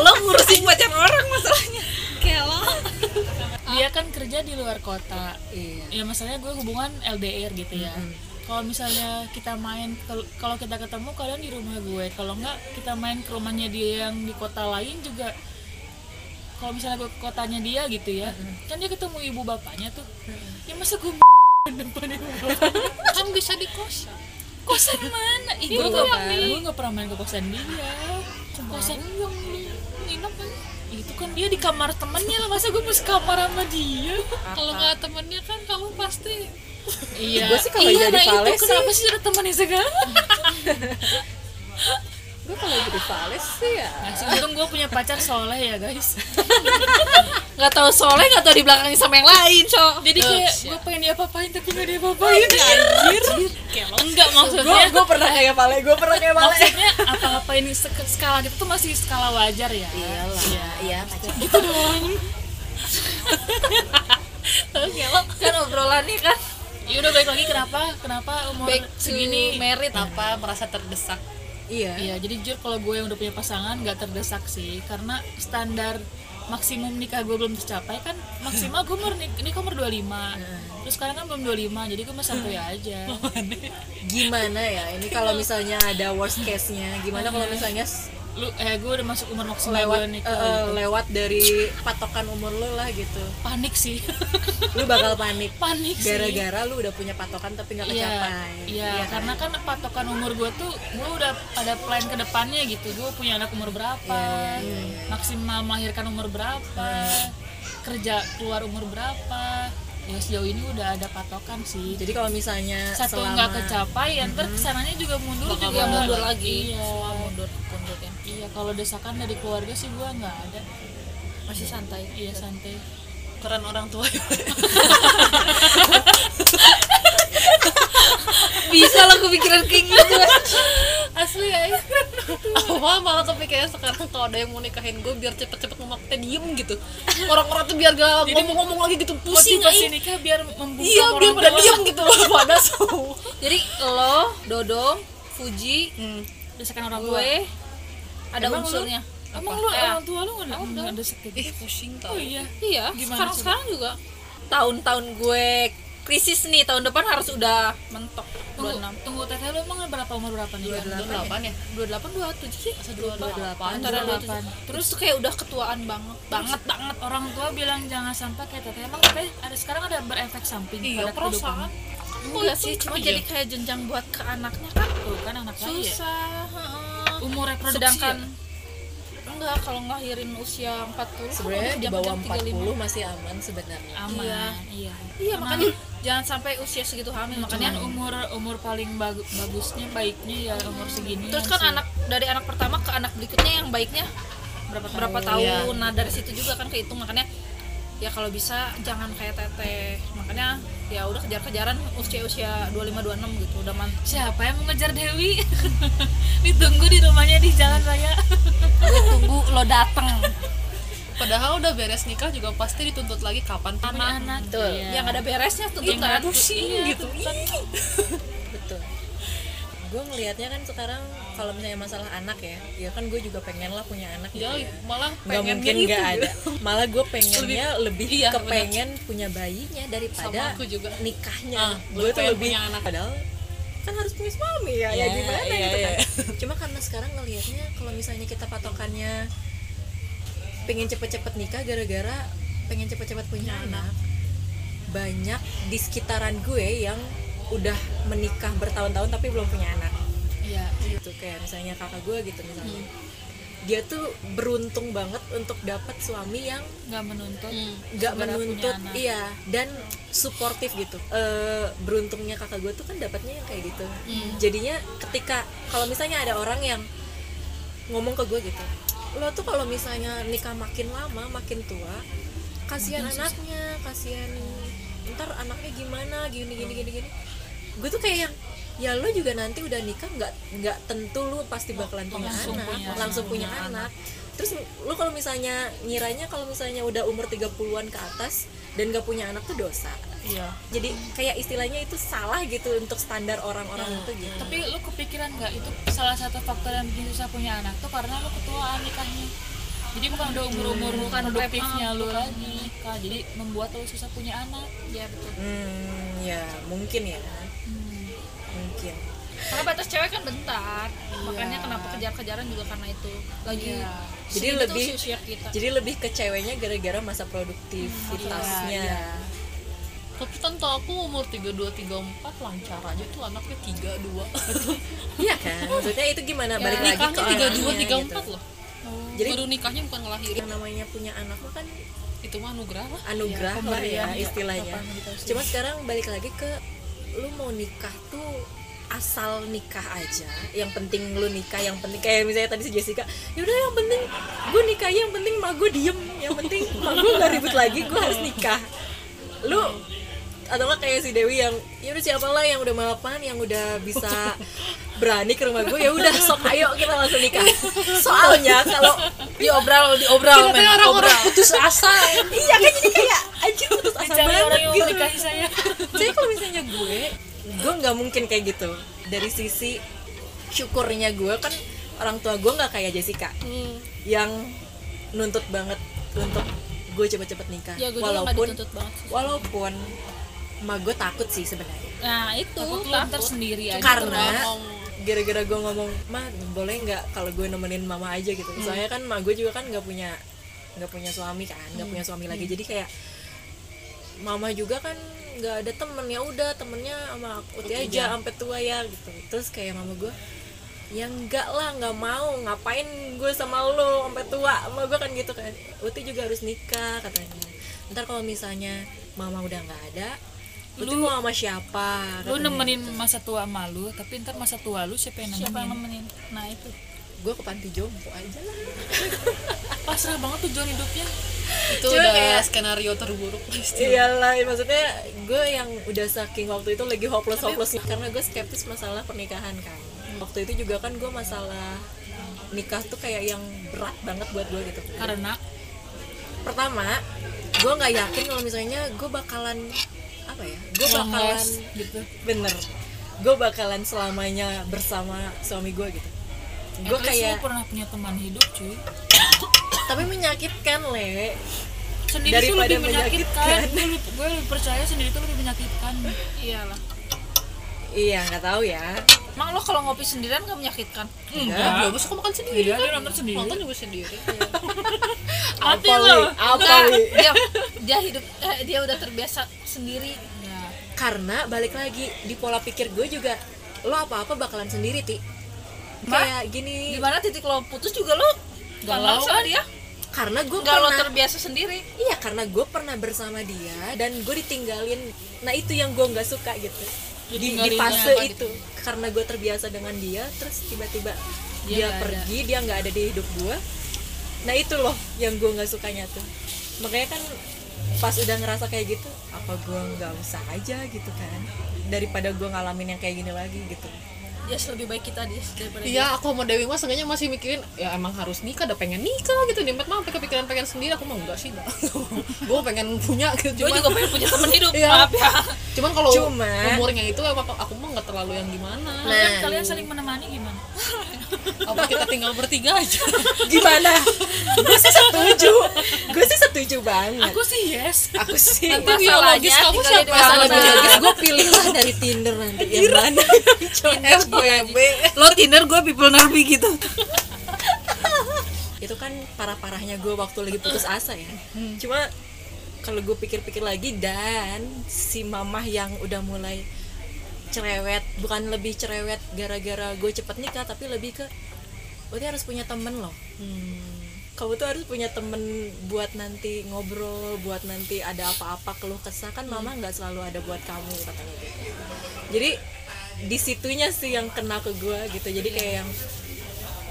Speaker 3: lo ngurusin pacar orang masalahnya kayak lo
Speaker 2: dia kan kerja di luar kota
Speaker 1: iya
Speaker 2: ya masalahnya gue hubungan LDR gitu ya kalau misalnya kita main kel- kalau kita ketemu kalian di rumah gue kalau nggak kita main ke rumahnya dia yang di kota lain juga kalau misalnya gue ke kotanya dia gitu ya kan dia ketemu ibu bapaknya tuh ya masa
Speaker 3: [laughs]
Speaker 2: gue depan ibu bapak
Speaker 4: kan bisa di kos
Speaker 2: kosan mana ibu
Speaker 3: Ibu
Speaker 2: gue
Speaker 3: bapak.
Speaker 2: gue nggak pernah main ke kosan dia kosan yang nginep kan itu kan dia di kamar temennya lah masa gue mesti kamar sama dia
Speaker 4: kalau nggak temennya kan kamu pasti
Speaker 2: iya
Speaker 1: Gua sih kalau
Speaker 2: iya,
Speaker 1: jadi
Speaker 2: nah
Speaker 1: Vales
Speaker 2: itu kenapa sih ada temannya segala
Speaker 1: gue kalau jadi Vales sih ya
Speaker 2: Nah, sih, untung gue punya pacar soleh ya [laughs] guys
Speaker 3: nggak tahu soleh nggak tahu di belakangnya sama yang lain cok Oh,
Speaker 2: Jadi kayak gue pengen diapa-apain tapi gak diapa-apain
Speaker 3: iya.
Speaker 2: Anjir
Speaker 3: enggak
Speaker 1: gue
Speaker 3: maksudnya
Speaker 1: gue pernah kayak Vales gue pernah kayak Vales
Speaker 2: Maksudnya apa-apain sek- skala gitu tuh masih skala wajar ya Gitu
Speaker 1: iyalah iya
Speaker 2: [laughs]
Speaker 1: pacar
Speaker 3: kayak lo kan obrolannya kan
Speaker 2: Ya udah balik lagi kenapa kenapa umur
Speaker 3: back to
Speaker 2: segini
Speaker 3: merit
Speaker 4: apa merasa terdesak
Speaker 1: iya
Speaker 2: Iya jadi jujur kalau gue yang udah punya pasangan gak terdesak sih Karena standar maksimum nikah gue belum tercapai kan maksimal gue umur nik- nikah umur 25 terus sekarang kan belum 25 jadi gue masih
Speaker 1: [laughs]
Speaker 2: santuy aja
Speaker 1: gimana ya ini kalau misalnya ada worst case nya gimana kalau misalnya s-
Speaker 2: lu eh gue udah masuk umur maksimal
Speaker 1: lewat
Speaker 2: gue
Speaker 1: eh,
Speaker 2: nikah
Speaker 1: eh,
Speaker 2: gitu.
Speaker 1: lewat dari patokan umur lo lah gitu
Speaker 2: panik sih
Speaker 1: [laughs] lu bakal panik
Speaker 2: panik sih
Speaker 1: gara-gara lu udah punya patokan tapi nggak
Speaker 2: Iya,
Speaker 1: kecapai
Speaker 2: iya,
Speaker 1: Iya kan?
Speaker 2: karena kan patokan umur gue tuh gue udah ada plan ke depannya gitu. Gue punya anak umur berapa,
Speaker 1: Iya,
Speaker 2: maksimal melahirkan umur berapa,
Speaker 1: Hmm.
Speaker 2: kerja keluar umur berapa. Ya sejauh ini udah ada patokan sih.
Speaker 1: jadi kalau misalnya
Speaker 2: Satu
Speaker 1: selama
Speaker 2: nggak kecapai, yang ntar kesananya juga mundur
Speaker 3: Bakal
Speaker 2: juga
Speaker 3: mundur lagi.
Speaker 2: Iya,
Speaker 3: mundur ya. mundurin
Speaker 2: iya kalau desakan dari keluarga sih gue nggak ada.
Speaker 3: masih santai
Speaker 2: Iya santai.
Speaker 4: keren orang tua
Speaker 3: bisa lo kepikiran kayak gitu
Speaker 4: asli ya Oma malah kepikiran sekarang kalau ada yang mau nikahin gue biar cepet-cepet ngomong teh diem gitu orang-orang tuh biar gak ngomong-ngomong lagi gitu pusing
Speaker 2: Motivasi
Speaker 4: Ai.
Speaker 2: nikah biar membuka
Speaker 4: iya
Speaker 2: orang
Speaker 4: biar pada
Speaker 2: tua.
Speaker 4: diem gitu loh pada semua
Speaker 3: jadi lo Dodo Fuji
Speaker 2: Desakan orang tua.
Speaker 3: gue ada
Speaker 2: Emang lu-
Speaker 3: unsurnya
Speaker 2: Emang
Speaker 3: Apa?
Speaker 2: lu
Speaker 3: Ya.
Speaker 2: orang tua lu nggak nggak desek gitu?
Speaker 4: ih pusing tau
Speaker 2: Oh iya.
Speaker 3: iya
Speaker 2: Gimana
Speaker 3: sekarang
Speaker 2: coba?
Speaker 3: sekarang juga tahun-tahun gue krisis nih tahun depan harus udah mentok
Speaker 2: Tunggu, tunggu teteh lu emang berapa umur berapa nih?
Speaker 4: Tahun delapan ya
Speaker 3: 28 27 sih
Speaker 4: masa dua delapan
Speaker 3: antara
Speaker 2: 28.
Speaker 3: 28 terus tuh kayak udah ketuaan banget banget
Speaker 2: Banget banget orang tua bilang jangan sampah kayak teteh. Emang teteh ada sekarang ada berefek samping
Speaker 4: iya
Speaker 2: pada
Speaker 4: perasaan
Speaker 2: kehidupan.
Speaker 3: enggak sih cuma
Speaker 4: Iya.
Speaker 3: jadi kayak jenjang buat ke anaknya kan
Speaker 2: Tuh kan anak lagi ya.
Speaker 3: susah kan heeh.
Speaker 2: Umur reproduksi
Speaker 3: sedangkan
Speaker 2: ya?
Speaker 3: enggak kalau ngelahirin usia kan 40
Speaker 1: sebenarnya di bawah
Speaker 3: 40
Speaker 1: 40 masih aman sebenarnya
Speaker 2: aman.
Speaker 3: Iya.
Speaker 2: Iya.
Speaker 3: iya makanya jangan sampai usia segitu hamil makanya
Speaker 2: Makanya umur umur paling bagu- bagusnya baiknya ya umur segini.
Speaker 3: terus kan anak dari anak pertama ke anak berikutnya yang baiknya berapa tahun, berapa
Speaker 4: Iya.
Speaker 3: tahun. nah dari situ juga kan kehitung makanya ya kalau bisa jangan kayak teteh makanya ya udah kejar-kejaran usia usia 25 26 gitu udah mantap
Speaker 2: siapa yang mau ngejar Dewi? Ditunggu di rumahnya di jalan raya.
Speaker 3: tunggu lo [laughs] dateng
Speaker 4: Padahal udah beres nikah juga pasti dituntut lagi kapan
Speaker 2: Punya
Speaker 4: anak.
Speaker 2: anak
Speaker 3: betul Iya. yang ada beresnya Iya, tuntutan
Speaker 4: Pusing gitu.
Speaker 1: betul gue ngelihatnya kan sekarang kalau misalnya masalah anak ya ya kan gue juga pengen lah punya anak gitu
Speaker 4: Ya malah
Speaker 1: nggak
Speaker 4: pengennya
Speaker 1: mungkin
Speaker 4: itu.
Speaker 1: nggak ada malah gue pengennya lebih,
Speaker 4: iya,
Speaker 1: kepengen punya bayinya daripada
Speaker 4: Sama aku juga.
Speaker 1: nikahnya
Speaker 4: Ah,
Speaker 1: gue
Speaker 4: lebih
Speaker 1: tuh
Speaker 4: pengen
Speaker 1: lebih
Speaker 4: punya anak.
Speaker 1: padahal kan harus punya suami ya ya
Speaker 4: Iya,
Speaker 1: gimana
Speaker 4: iya,
Speaker 1: gitu kan
Speaker 4: iya.
Speaker 1: cuma karena sekarang ngelihatnya kalau misalnya kita patokannya pengen cepet-cepet nikah gara-gara pengen cepet-cepet punya
Speaker 4: Iya,
Speaker 1: anak banyak di sekitaran gue yang udah menikah bertahun-tahun tapi belum punya anak
Speaker 2: Iya.
Speaker 1: gitu kayak misalnya kakak gue gitu misalnya dia tuh beruntung banget untuk dapat suami yang
Speaker 2: Nggak menuntut.
Speaker 1: gak
Speaker 2: Segera punya
Speaker 1: menuntut
Speaker 2: anak.
Speaker 1: iya dan suportif gitu Eh, beruntungnya kakak gue tuh kan dapatnya yang kayak gitu
Speaker 2: Hmm.
Speaker 1: jadinya ketika kalau misalnya ada orang yang ngomong ke gue gitu lo tuh kalau misalnya nikah makin lama makin tua kasihan anaknya kasihan ntar anaknya gimana gini gini gini gini gue tuh kayak yang ya lo juga nanti udah nikah nggak nggak tentu lo pasti bakalan punya
Speaker 2: Langsung
Speaker 1: anak
Speaker 2: punya-
Speaker 1: langsung punya
Speaker 4: punya
Speaker 1: anak terus lu kalau misalnya ngiranya kalau misalnya udah umur 30-an ke atas dan gak punya anak tuh dosa
Speaker 4: Iya.
Speaker 1: jadi kayak istilahnya itu salah gitu untuk standar orang-orang
Speaker 4: Nah.
Speaker 1: itu gitu
Speaker 2: Tapi lu kepikiran nggak itu salah satu faktor yang bikin susah punya anak tuh karena lu ketuaan nikahnya. Jadi bukan udah umur-umur bukan produktifnya lu lagi. Kak. Jadi membuat lu susah punya anak.
Speaker 3: ya betul
Speaker 1: hmm ya mungkin ya
Speaker 2: Hmm.
Speaker 1: mungkin
Speaker 3: karena batas cewek kan bentar
Speaker 4: Iya.
Speaker 3: makanya kenapa kejar-kejaran juga karena itu lagi
Speaker 2: Iya.
Speaker 1: Jadi
Speaker 3: segitu
Speaker 1: lebih-
Speaker 3: sih usia kita
Speaker 1: jadi lebih ke ceweknya gara-gara masa produktivitasnya
Speaker 2: Iya.
Speaker 4: Tapi tante aku umur 32 34 lancar aja tuh anaknya 32.
Speaker 1: iya kan maksudnya itu gimana balik lagi ke
Speaker 4: Nikahnya
Speaker 1: orangnya
Speaker 4: 32 34
Speaker 1: gitu.
Speaker 4: loh.
Speaker 1: jadi
Speaker 4: Baru nikahnya bukan ngelahirin.
Speaker 1: yang namanya punya anak tuh kan
Speaker 4: Itu mah anugerah lah.
Speaker 1: anugerah lah ya istilahnya cuma sekarang balik lagi ke lu mau nikah tuh asal nikah aja yang penting lu nikah yang penting kayak misalnya tadi si Jessica yaudah yang penting gue nikah yang penting mah gue diem yang penting mah gue gak ribut lagi gue harus nikah lu atau nggak kayak si Dewi yang ya udah siapa lah yang udah mapan yang udah bisa berani ke rumah gue ya udah sok ayo kita langsung nikah soalnya kalau diobral diobral men orang putus asa iya kan jadi kayak anjir putus asa banget gitu
Speaker 2: saya.
Speaker 1: jadi kalau misalnya gue gue nggak mungkin kayak gitu dari sisi syukurnya gue kan orang tua gue nggak kayak Jessica
Speaker 3: Hmm.
Speaker 1: yang nuntut banget untuk gue cepet-cepet nikah
Speaker 3: ya gue juga nggak
Speaker 1: walaupun
Speaker 3: dituntut banget sih.
Speaker 1: walaupun emak gue takut sih sebenarnya
Speaker 3: nah itu
Speaker 2: Takut lu ntar
Speaker 3: takut
Speaker 2: sendiri aja.
Speaker 1: karena
Speaker 4: ngomong.
Speaker 1: gara-gara gue ngomong mah boleh nggak kalau gue nemenin mama aja gitu
Speaker 2: Hmm.
Speaker 1: soalnya kan emak gue juga kan nggak punya nggak punya suami kan nggak
Speaker 2: Hmm.
Speaker 1: punya suami lagi jadi kayak mama juga kan nggak ada temen ya udah temennya sama aku aja sampai tua ya gitu terus kayak mama gue ya enggak lah nggak mau ngapain gue sama lo sampai tua sama gue kan gitu kan Uti juga harus nikah katanya ntar kalau misalnya mama udah nggak ada Uti mau sama siapa
Speaker 2: Lu
Speaker 1: katanya.
Speaker 2: nemenin masa tua malu, tapi ntar masa tua lu siapa yang nemenin?
Speaker 3: siapa yang nemenin nah itu
Speaker 1: gue ke panti jompo aja lah
Speaker 2: Pasrah banget tujuan hidupnya.
Speaker 4: Itu
Speaker 1: Cuma
Speaker 4: udah
Speaker 1: kayak-
Speaker 4: skenario terburuk pasti.
Speaker 1: iyalah maksudnya gue yang udah saking waktu itu lagi hopeless hopeless karena gue skeptis masalah pernikahan kan waktu itu juga kan gue masalah nikah tuh kayak yang berat banget buat gue gitu
Speaker 2: Karena
Speaker 1: pertama gue nggak yakin kalau misalnya gue bakalan apa ya gue bakalan
Speaker 2: Longless gitu.
Speaker 1: bener gue bakalan selamanya bersama suami gue gitu gue
Speaker 2: At least
Speaker 1: kayak
Speaker 2: lu pernah punya teman hidup cuy.
Speaker 1: tapi menyakitkan le
Speaker 2: Sendiri tuh
Speaker 1: Daripada
Speaker 2: lebih menyakitkan.
Speaker 1: menyakitkan.
Speaker 2: Gue lebih- gue lebih percaya sendiri tuh lebih menyakitkan.
Speaker 3: iyalah
Speaker 1: iya nggak tahu ya
Speaker 3: emang lo kalau ngopi sendirian gak menyakitkan
Speaker 1: Enggak.
Speaker 4: Ya, bagus aku makan sendiri
Speaker 2: Iya,
Speaker 4: kan.
Speaker 2: dia nonton sendiri.
Speaker 4: Nonton juga
Speaker 3: [laughs]
Speaker 4: sendiri.
Speaker 3: Mati
Speaker 1: Apa,
Speaker 3: lo.
Speaker 1: Wi? Apa,
Speaker 3: Enggak.
Speaker 1: Wi?
Speaker 3: dia dia hidup eh, dia udah terbiasa sendiri
Speaker 2: Ya.
Speaker 1: karena balik lagi di pola pikir gue juga lo apa-apa bakalan sendiri ti
Speaker 3: Ma?
Speaker 1: kayak gini
Speaker 3: gimana titik lo putus juga lo
Speaker 2: Galau
Speaker 3: galau
Speaker 4: kan?
Speaker 3: sama dia
Speaker 1: karena gue
Speaker 3: nggak lo
Speaker 1: pernah
Speaker 3: terbiasa sendiri
Speaker 1: iya karena gue pernah bersama dia dan gue ditinggalin nah itu yang gue nggak suka gitu di, di
Speaker 2: Ditinggalinnya
Speaker 1: fase
Speaker 2: apa gitu?
Speaker 1: itu karena gue terbiasa dengan dia terus tiba-tiba dia,
Speaker 2: nggak ada.
Speaker 1: pergi dia nggak ada di hidup gue nah itu loh yang gue nggak sukanya tuh makanya kan pas udah ngerasa kayak gitu apa gue nggak usah aja gitu kan daripada gue ngalamin yang kayak gini lagi gitu
Speaker 3: Jas lebih baik kita Jas daripada dia.
Speaker 4: Iya, aku sama Dewi mah seenggaknya masih mikirin ya emang harus nikah, udah pengen nikah gitu. Nimet mah sampai kepikiran pengen sendiri, aku mah enggak sih. [laughs] gue pengen punya gitu.
Speaker 3: gue
Speaker 4: Cuman,
Speaker 3: juga pengen punya teman
Speaker 2: [laughs]
Speaker 3: hidup
Speaker 4: [laughs] Iya.
Speaker 3: maaf ya
Speaker 4: cuman kalau
Speaker 1: Cuman-
Speaker 4: umurnya itu emang aku mah nggak terlalu yang gimana.
Speaker 2: Kalian, Ah, kan
Speaker 1: [laughs]
Speaker 2: kalian saling menemani gimana?
Speaker 4: Apa kita tinggal bertiga aja?
Speaker 2: [laughs]
Speaker 1: gimana gue sih setuju gue sih setuju banget
Speaker 2: Aku sih yes.
Speaker 1: aku sih
Speaker 4: Nanti biologis kamu
Speaker 3: tinggal di
Speaker 4: siapa?
Speaker 3: Iya. dua
Speaker 1: Kalau
Speaker 3: Kalau
Speaker 1: biologis gue pilih lah dari Tinder nanti yang
Speaker 3: [laughs]
Speaker 1: mana FWB
Speaker 3: lo Tinder gue people nerbi gitu
Speaker 1: [laughs] Itu kan parah-parahnya gue waktu lagi putus asa ya
Speaker 3: Hmm.
Speaker 1: Cuma kalau gue pikir-pikir lagi dan si mamah yang udah mulai cerewet Bukan lebih cerewet gara-gara gue cepet nikah tapi lebih ke Berarti harus punya temen loh Hmm. kamu tuh harus punya temen buat nanti ngobrol, buat nanti ada apa-apa keluh kesah kan mama nggak selalu ada buat kamu katanya gitu. Jadi disitunya sih yang kena ke gue gitu. Jadi kayak yang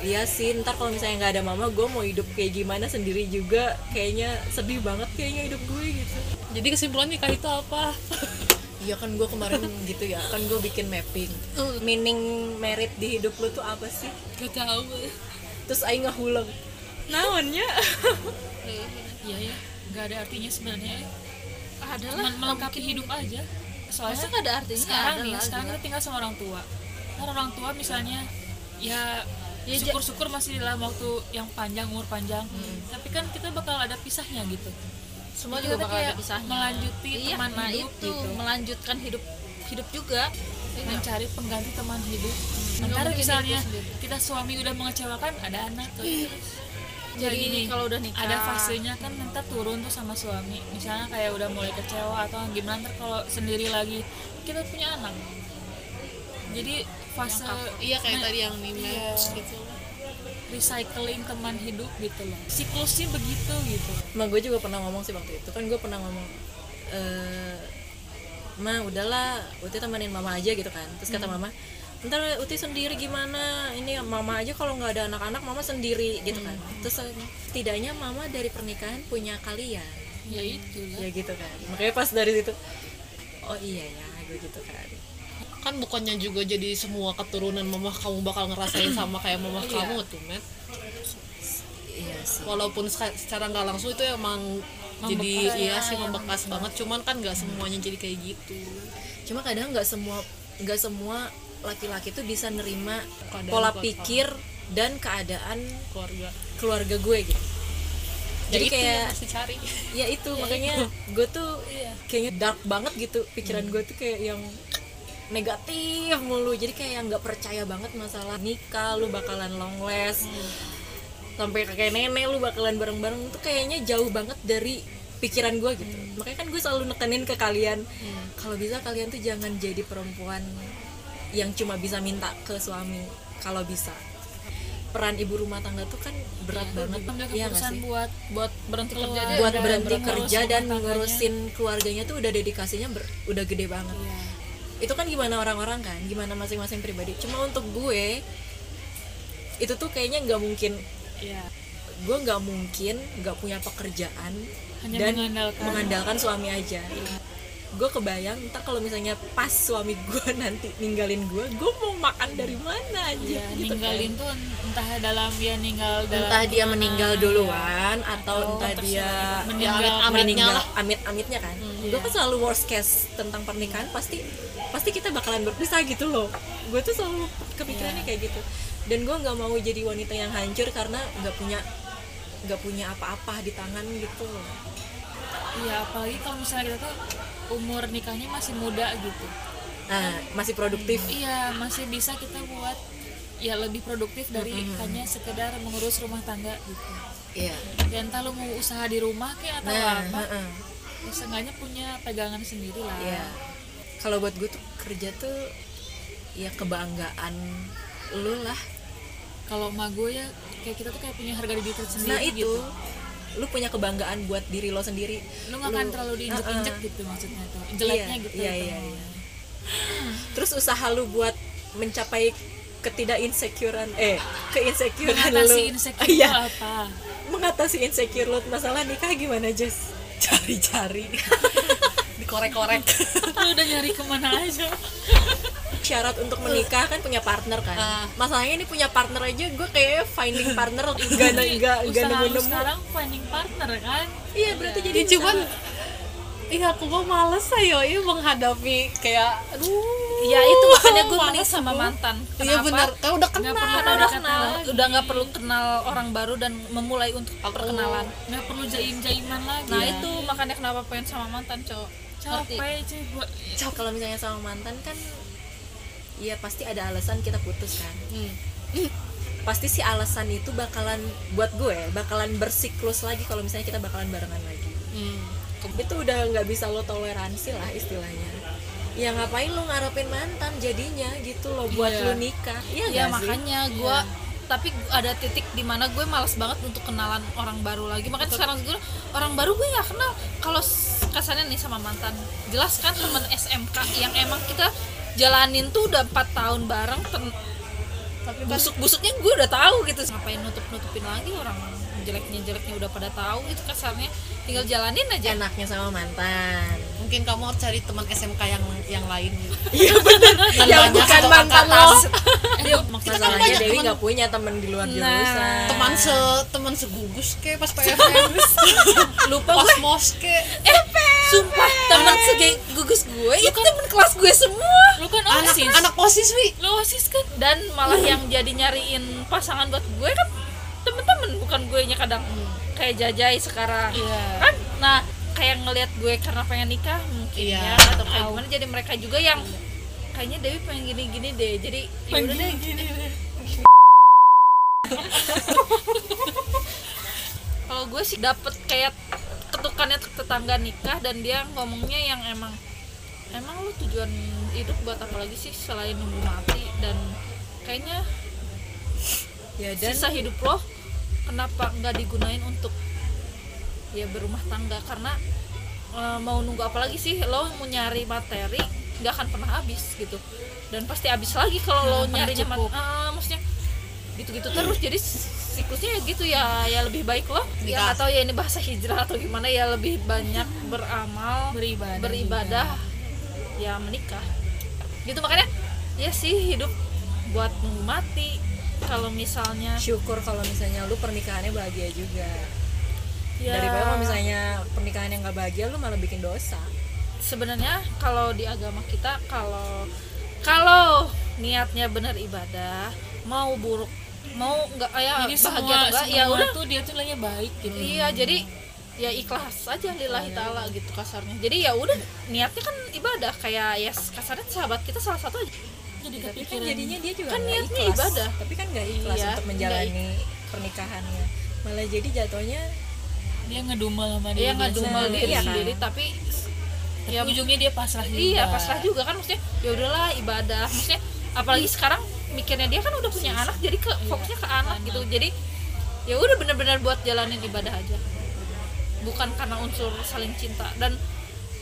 Speaker 1: Iya sih, ntar kalau misalnya nggak ada mama, gue mau hidup kayak gimana sendiri juga Kayaknya sedih banget kayaknya hidup gue gitu
Speaker 4: Jadi kesimpulannya nikah itu apa?
Speaker 1: Iya kan gue kemarin gitu ya, kan gue bikin mapping Meaning merit di hidup lu tuh apa sih?
Speaker 4: Gak tahu.
Speaker 1: Terus Aing ngehuleng Naonnya?
Speaker 2: Iya ya. Gak ada artinya sebenarnya.
Speaker 3: ada
Speaker 2: Cuma melengkapi hidup aja. Soalnya
Speaker 3: masa nggak ada artinya
Speaker 2: sekarang
Speaker 3: ada
Speaker 2: nih,
Speaker 3: lah
Speaker 2: sekarang
Speaker 3: gila.
Speaker 2: kita tinggal sama orang tua. Nah, orang tua misalnya ya ya syukur-syukur masih dalam waktu yang panjang umur panjang. Tapi kan kita bakal ada pisahnya gitu.
Speaker 3: Hmm. semua
Speaker 2: Jadi
Speaker 3: juga
Speaker 2: kita
Speaker 3: bakal
Speaker 2: kayak
Speaker 3: ada pisahnya
Speaker 2: melanjuti
Speaker 3: iya,
Speaker 2: teman
Speaker 3: nah
Speaker 2: hidup
Speaker 3: itu
Speaker 2: gitu.
Speaker 3: melanjutkan hidup hidup juga
Speaker 2: mencari pengganti teman hidup. Antara
Speaker 3: Nggak mungkin
Speaker 2: Hmm. misalnya
Speaker 3: hidup sendiri.
Speaker 2: kita suami udah mengecewakan, ada anak tuh.
Speaker 3: jadi
Speaker 2: Kayak gini,
Speaker 3: kalau udah nikah
Speaker 2: ada fasenya kan nanti turun tuh sama suami. Misalnya kayak udah mulai kecewa atau gimana ntar kalau sendiri lagi kita punya anak. Jadi fase
Speaker 4: Iya kayak
Speaker 3: Nah.
Speaker 4: tadi yang Nimet
Speaker 2: Iya.
Speaker 4: gitu.
Speaker 2: recycling teman hidup gitu loh. Siklusnya begitu gitu.
Speaker 1: Ma gue juga pernah ngomong sih waktu itu kan gue pernah ngomong eh ma udahlah uti temenin mama aja gitu kan terus
Speaker 4: Hmm.
Speaker 1: kata mama ntar uti sendiri gimana ini mama aja kalau nggak ada anak-anak mama sendiri gitu kan
Speaker 4: Hmm.
Speaker 1: terus setidaknya mama dari pernikahan punya kalian
Speaker 2: Ya itu
Speaker 1: ya
Speaker 2: lah.
Speaker 1: gitu kan makanya pas dari situ oh iya ya gue gitu kan
Speaker 4: Kan bukannya juga jadi semua keturunan mamah kamu bakal ngerasain
Speaker 2: [clears throat]
Speaker 4: sama kayak mamah kamu tuh, Met.
Speaker 1: iya sih
Speaker 4: Walaupun seka- secara nggak langsung itu emang jadi iya sih membekas banget, cuman kan nggak semuanya jadi kayak gitu.
Speaker 1: cuma kadang nggak semua nggak semua laki-laki tuh bisa nerima
Speaker 4: Keadaan
Speaker 1: pola
Speaker 4: keluarga.
Speaker 1: pikir dan keadaan
Speaker 4: Keluarga.
Speaker 1: keluarga gue gitu jadi
Speaker 4: ya itu yang
Speaker 1: kayak
Speaker 4: mesti cari.
Speaker 1: ya itu makanya gue tuh kayaknya dark banget gitu pikiran gue tuh kayak yang negatif mulu jadi kayak yang nggak percaya banget masalah nikah lu bakalan long last sampai kakek nenek lu bakalan bareng bareng tuh kayaknya jauh banget dari pikiran gue gitu
Speaker 2: Hmm.
Speaker 1: makanya kan gue selalu nekenin ke kalian kalau bisa kalian tuh jangan jadi perempuan yang cuma bisa minta ke suami kalau bisa peran ibu rumah tangga tuh kan berat banget
Speaker 2: Ambil
Speaker 1: Iya nggak
Speaker 2: keputusan
Speaker 1: sih?
Speaker 2: buat buat berhenti kerja aja
Speaker 1: buat
Speaker 2: udah
Speaker 1: berhenti
Speaker 2: ngurus
Speaker 1: kerja
Speaker 2: rumah
Speaker 1: dan
Speaker 2: tangganya.
Speaker 1: ngurusin keluarganya tuh udah dedikasinya ber- udah gede banget itu kan gimana orang-orang kan gimana masing-masing pribadi cuma untuk gue itu tuh kayaknya nggak mungkin
Speaker 2: Iya.
Speaker 1: gue nggak mungkin nggak punya pekerjaan
Speaker 2: Hanya
Speaker 1: dan
Speaker 2: mengandalkan.
Speaker 1: mengandalkan suami aja gue kebayang ntar kalau misalnya pas suami gue [laughs] nanti ninggalin gue gue mau makan dari mana aja
Speaker 2: Ya,
Speaker 1: gitu kan.
Speaker 2: ninggalin tuh entah dalam dia ninggal dalam
Speaker 1: entah dia
Speaker 2: gimana,
Speaker 1: meninggal
Speaker 2: ya.
Speaker 1: duluan atau entah dia
Speaker 2: meninggal
Speaker 4: amit-amitnya
Speaker 1: meninggal
Speaker 4: lah.
Speaker 1: amit-amitnya kan gue kan selalu worst case tentang pernikahan pasti pasti kita bakalan berpisah gitu loh gue tuh selalu kepikirannya kayak gitu dan gue nggak mau jadi wanita yang hancur karena nggak punya nggak punya apa-apa di tangan gitu loh
Speaker 2: Iya, apalagi kalau misalnya kita tuh umur nikahnya masih muda gitu.
Speaker 1: nah masih produktif
Speaker 2: Iya, masih bisa kita buat ya lebih produktif dari hanya sekedar mengurus rumah tangga gitu.
Speaker 1: iya
Speaker 2: Ya entah lu mau usaha di rumah kayak atau
Speaker 1: nah
Speaker 2: apa,
Speaker 1: heeh.
Speaker 2: ya seenggaknya punya pegangan sendiri lah.
Speaker 1: Iya. Kalau buat gue tuh kerja tuh ya kebanggaan lu lah
Speaker 2: Kalau emak gue ya kayak kita tuh kayak punya harga diri tersendiri
Speaker 1: Nah itu
Speaker 2: gitu.
Speaker 5: lu punya kebanggaan buat diri lo sendiri
Speaker 2: lu nggak akan
Speaker 5: Lu-
Speaker 2: terlalu diinjek-injek
Speaker 5: Uh-uh.
Speaker 2: gitu maksudnya tuh jeleknya
Speaker 5: Iya,
Speaker 2: gitu
Speaker 5: iya,
Speaker 2: itu.
Speaker 5: iya, iya. terus usaha lu buat mencapai ketidak insecurean eh keinsecurean
Speaker 2: mengatasi
Speaker 5: lu
Speaker 2: insecure
Speaker 5: iya
Speaker 2: itu apa
Speaker 5: mengatasi insecure lu masalah nikah gimana Jess
Speaker 4: [laughs]
Speaker 5: cari-cari
Speaker 4: dikorek-korek
Speaker 2: lu udah nyari kemana aja
Speaker 5: syarat untuk menikah kan punya partner kan
Speaker 4: Ah.
Speaker 5: masalahnya ini punya partner aja gue kayak finding partner gak gak gak
Speaker 2: usaha
Speaker 5: nemu
Speaker 2: lu
Speaker 5: nemu
Speaker 2: sekarang finding partner kan
Speaker 5: iya berarti jadi
Speaker 4: ya cuman iya aku mah males ayo ya menghadapi kayak aduh
Speaker 3: ya
Speaker 2: Nah,
Speaker 3: itu makanya gue
Speaker 4: males
Speaker 3: mending sama
Speaker 4: aku.
Speaker 3: mantan
Speaker 4: iya bener kan udah kenal
Speaker 2: perlu
Speaker 3: karena udah
Speaker 2: pendekatan
Speaker 3: kenal
Speaker 2: lagi.
Speaker 3: udah nggak perlu kenal orang baru dan memulai untuk perkenalan
Speaker 2: nggak perlu jaim-jaiman lagi Iya.
Speaker 3: nah itu makanya kenapa pengen sama mantan cowok Ngerti?
Speaker 2: capek cuy gua
Speaker 5: Cok, kalau misalnya sama mantan kan Iya pasti ada alasan kita putus kan
Speaker 4: Hmm.
Speaker 5: Pasti si alasan itu bakalan Buat gue bakalan bersiklus lagi Kalau misalnya kita bakalan barengan lagi
Speaker 4: Hmm.
Speaker 5: Itu udah nggak bisa lo toleransi lah istilahnya Ya ngapain lo ngarepin mantan jadinya gitu loh Buat
Speaker 4: Iya.
Speaker 5: lo nikah
Speaker 3: ya
Speaker 5: Iya nggak sih?
Speaker 3: makanya gue tapi ada titik dimana gue malas banget untuk kenalan orang baru lagi makanya sekarang gue orang baru gue nggak kenal kalau s- kesannya nih sama mantan jelas kan temen SMK yang emang kita jalanin tuh udah empat tahun bareng tapi busuk busuknya gue udah tahu gitu ngapain nutup nutupin lagi orang jeleknya jeleknya udah pada tahu itu kasarnya tinggal jalanin
Speaker 1: Iya,
Speaker 3: aja
Speaker 5: Enaknya sama mantan
Speaker 4: mungkin kamu harus cari teman SMK yang yang lain
Speaker 5: Iya bener
Speaker 4: Kan
Speaker 5: Yang
Speaker 4: banyak
Speaker 5: bukan
Speaker 4: atau
Speaker 5: mantan
Speaker 4: angkatan. [laughs] Iya,
Speaker 5: lo
Speaker 2: eh, gua-
Speaker 4: kita kan banyak
Speaker 5: Masalahnya
Speaker 4: Nah,
Speaker 5: Dewi
Speaker 4: teman
Speaker 5: nggak punya temen di luar jurusan
Speaker 4: teman se teman segugus ke pas PFM [laughs] lupa Eh, pas mos ke
Speaker 3: sumpah teman segeng gugus gue itu
Speaker 5: kan
Speaker 3: temen kelas gue semua
Speaker 2: lu kan
Speaker 4: anak
Speaker 2: osis
Speaker 4: anak osis wi
Speaker 2: lu osis kan
Speaker 3: dan malah yang jadi nyariin pasangan buat gue kan temen-temen bukan gue nya kadang kayak jajai sekarang
Speaker 2: iya
Speaker 3: kan nah kayak ngelihat gue karena pengen nikah mungkin
Speaker 4: Iya.
Speaker 3: ya atau kayak gimana jadi mereka juga yang kayaknya Dewi pengen gini-gini deh jadi yaudah deh
Speaker 2: gini
Speaker 3: [laughs] kalau gue sih dapet kayak ketukannya tetangga nikah dan dia ngomongnya yang emang emang lu tujuan hidup buat apa lagi sih selain nunggu mati dan kayaknya
Speaker 5: Ya dan
Speaker 3: sisa hidup lo kenapa nggak digunain untuk ya berumah tangga karena eh, mau nunggu apa lagi sih lo mau nyari materi nggak akan pernah habis gitu dan pasti habis lagi kalau lo
Speaker 2: pernah
Speaker 3: nyarinya mat-
Speaker 2: cukup.
Speaker 3: Ah, maksudnya gitu-gitu terus jadi s- siklusnya ya gitu ya ya lebih baik lo ya
Speaker 4: Nikah.
Speaker 3: atau ya ini bahasa hijrah atau gimana ya lebih banyak beramal
Speaker 2: beribadah
Speaker 3: beribadah ya menikah gitu makanya ya sih hidup buat nunggu mati kalau misalnya
Speaker 5: syukur kalau misalnya lu pernikahannya bahagia juga
Speaker 3: ya
Speaker 5: daripada kalau misalnya pernikahan yang nggak bahagia lu malah bikin dosa
Speaker 3: sebenarnya kalau di agama kita kalau kalau niatnya benar ibadah mau buruk mau nggak ya
Speaker 2: jadi
Speaker 3: bahagia
Speaker 2: semua
Speaker 3: atau enggak
Speaker 2: semua
Speaker 3: ya udah
Speaker 2: tuh dia tuh nilainya baik gitu
Speaker 3: iya jadi ya ikhlas aja lillahi taala gitu kasarnya jadi ya udah niatnya kan ibadah kayak ya kasarnya sahabat kita salah satu aja
Speaker 2: jadi
Speaker 5: tapi kan
Speaker 2: kepikiran
Speaker 5: jadinya dia juga
Speaker 3: Kan
Speaker 5: nggak
Speaker 3: niatnya
Speaker 5: ikhlas.
Speaker 3: ibadah.
Speaker 5: tapi kan nggak ikhlas
Speaker 3: Iya,
Speaker 5: untuk
Speaker 3: nggak
Speaker 5: menjalani pernikahannya malah jadi jatuhnya
Speaker 2: dia ngedumel sama dia
Speaker 3: dia nggak
Speaker 5: Nah,
Speaker 3: dumal diri
Speaker 5: iya kan.
Speaker 3: sendiri tapi ya
Speaker 2: ujungnya dia pasrah juga
Speaker 3: Iya pasrah juga kan maksudnya ya udahlah ibadah maksudnya apalagi sekarang mikirnya dia kan udah punya anak jadi ke fokusnya ke anak gitu jadi ya udah bener-bener buat jalanin ibadah aja bukan karena unsur saling cinta dan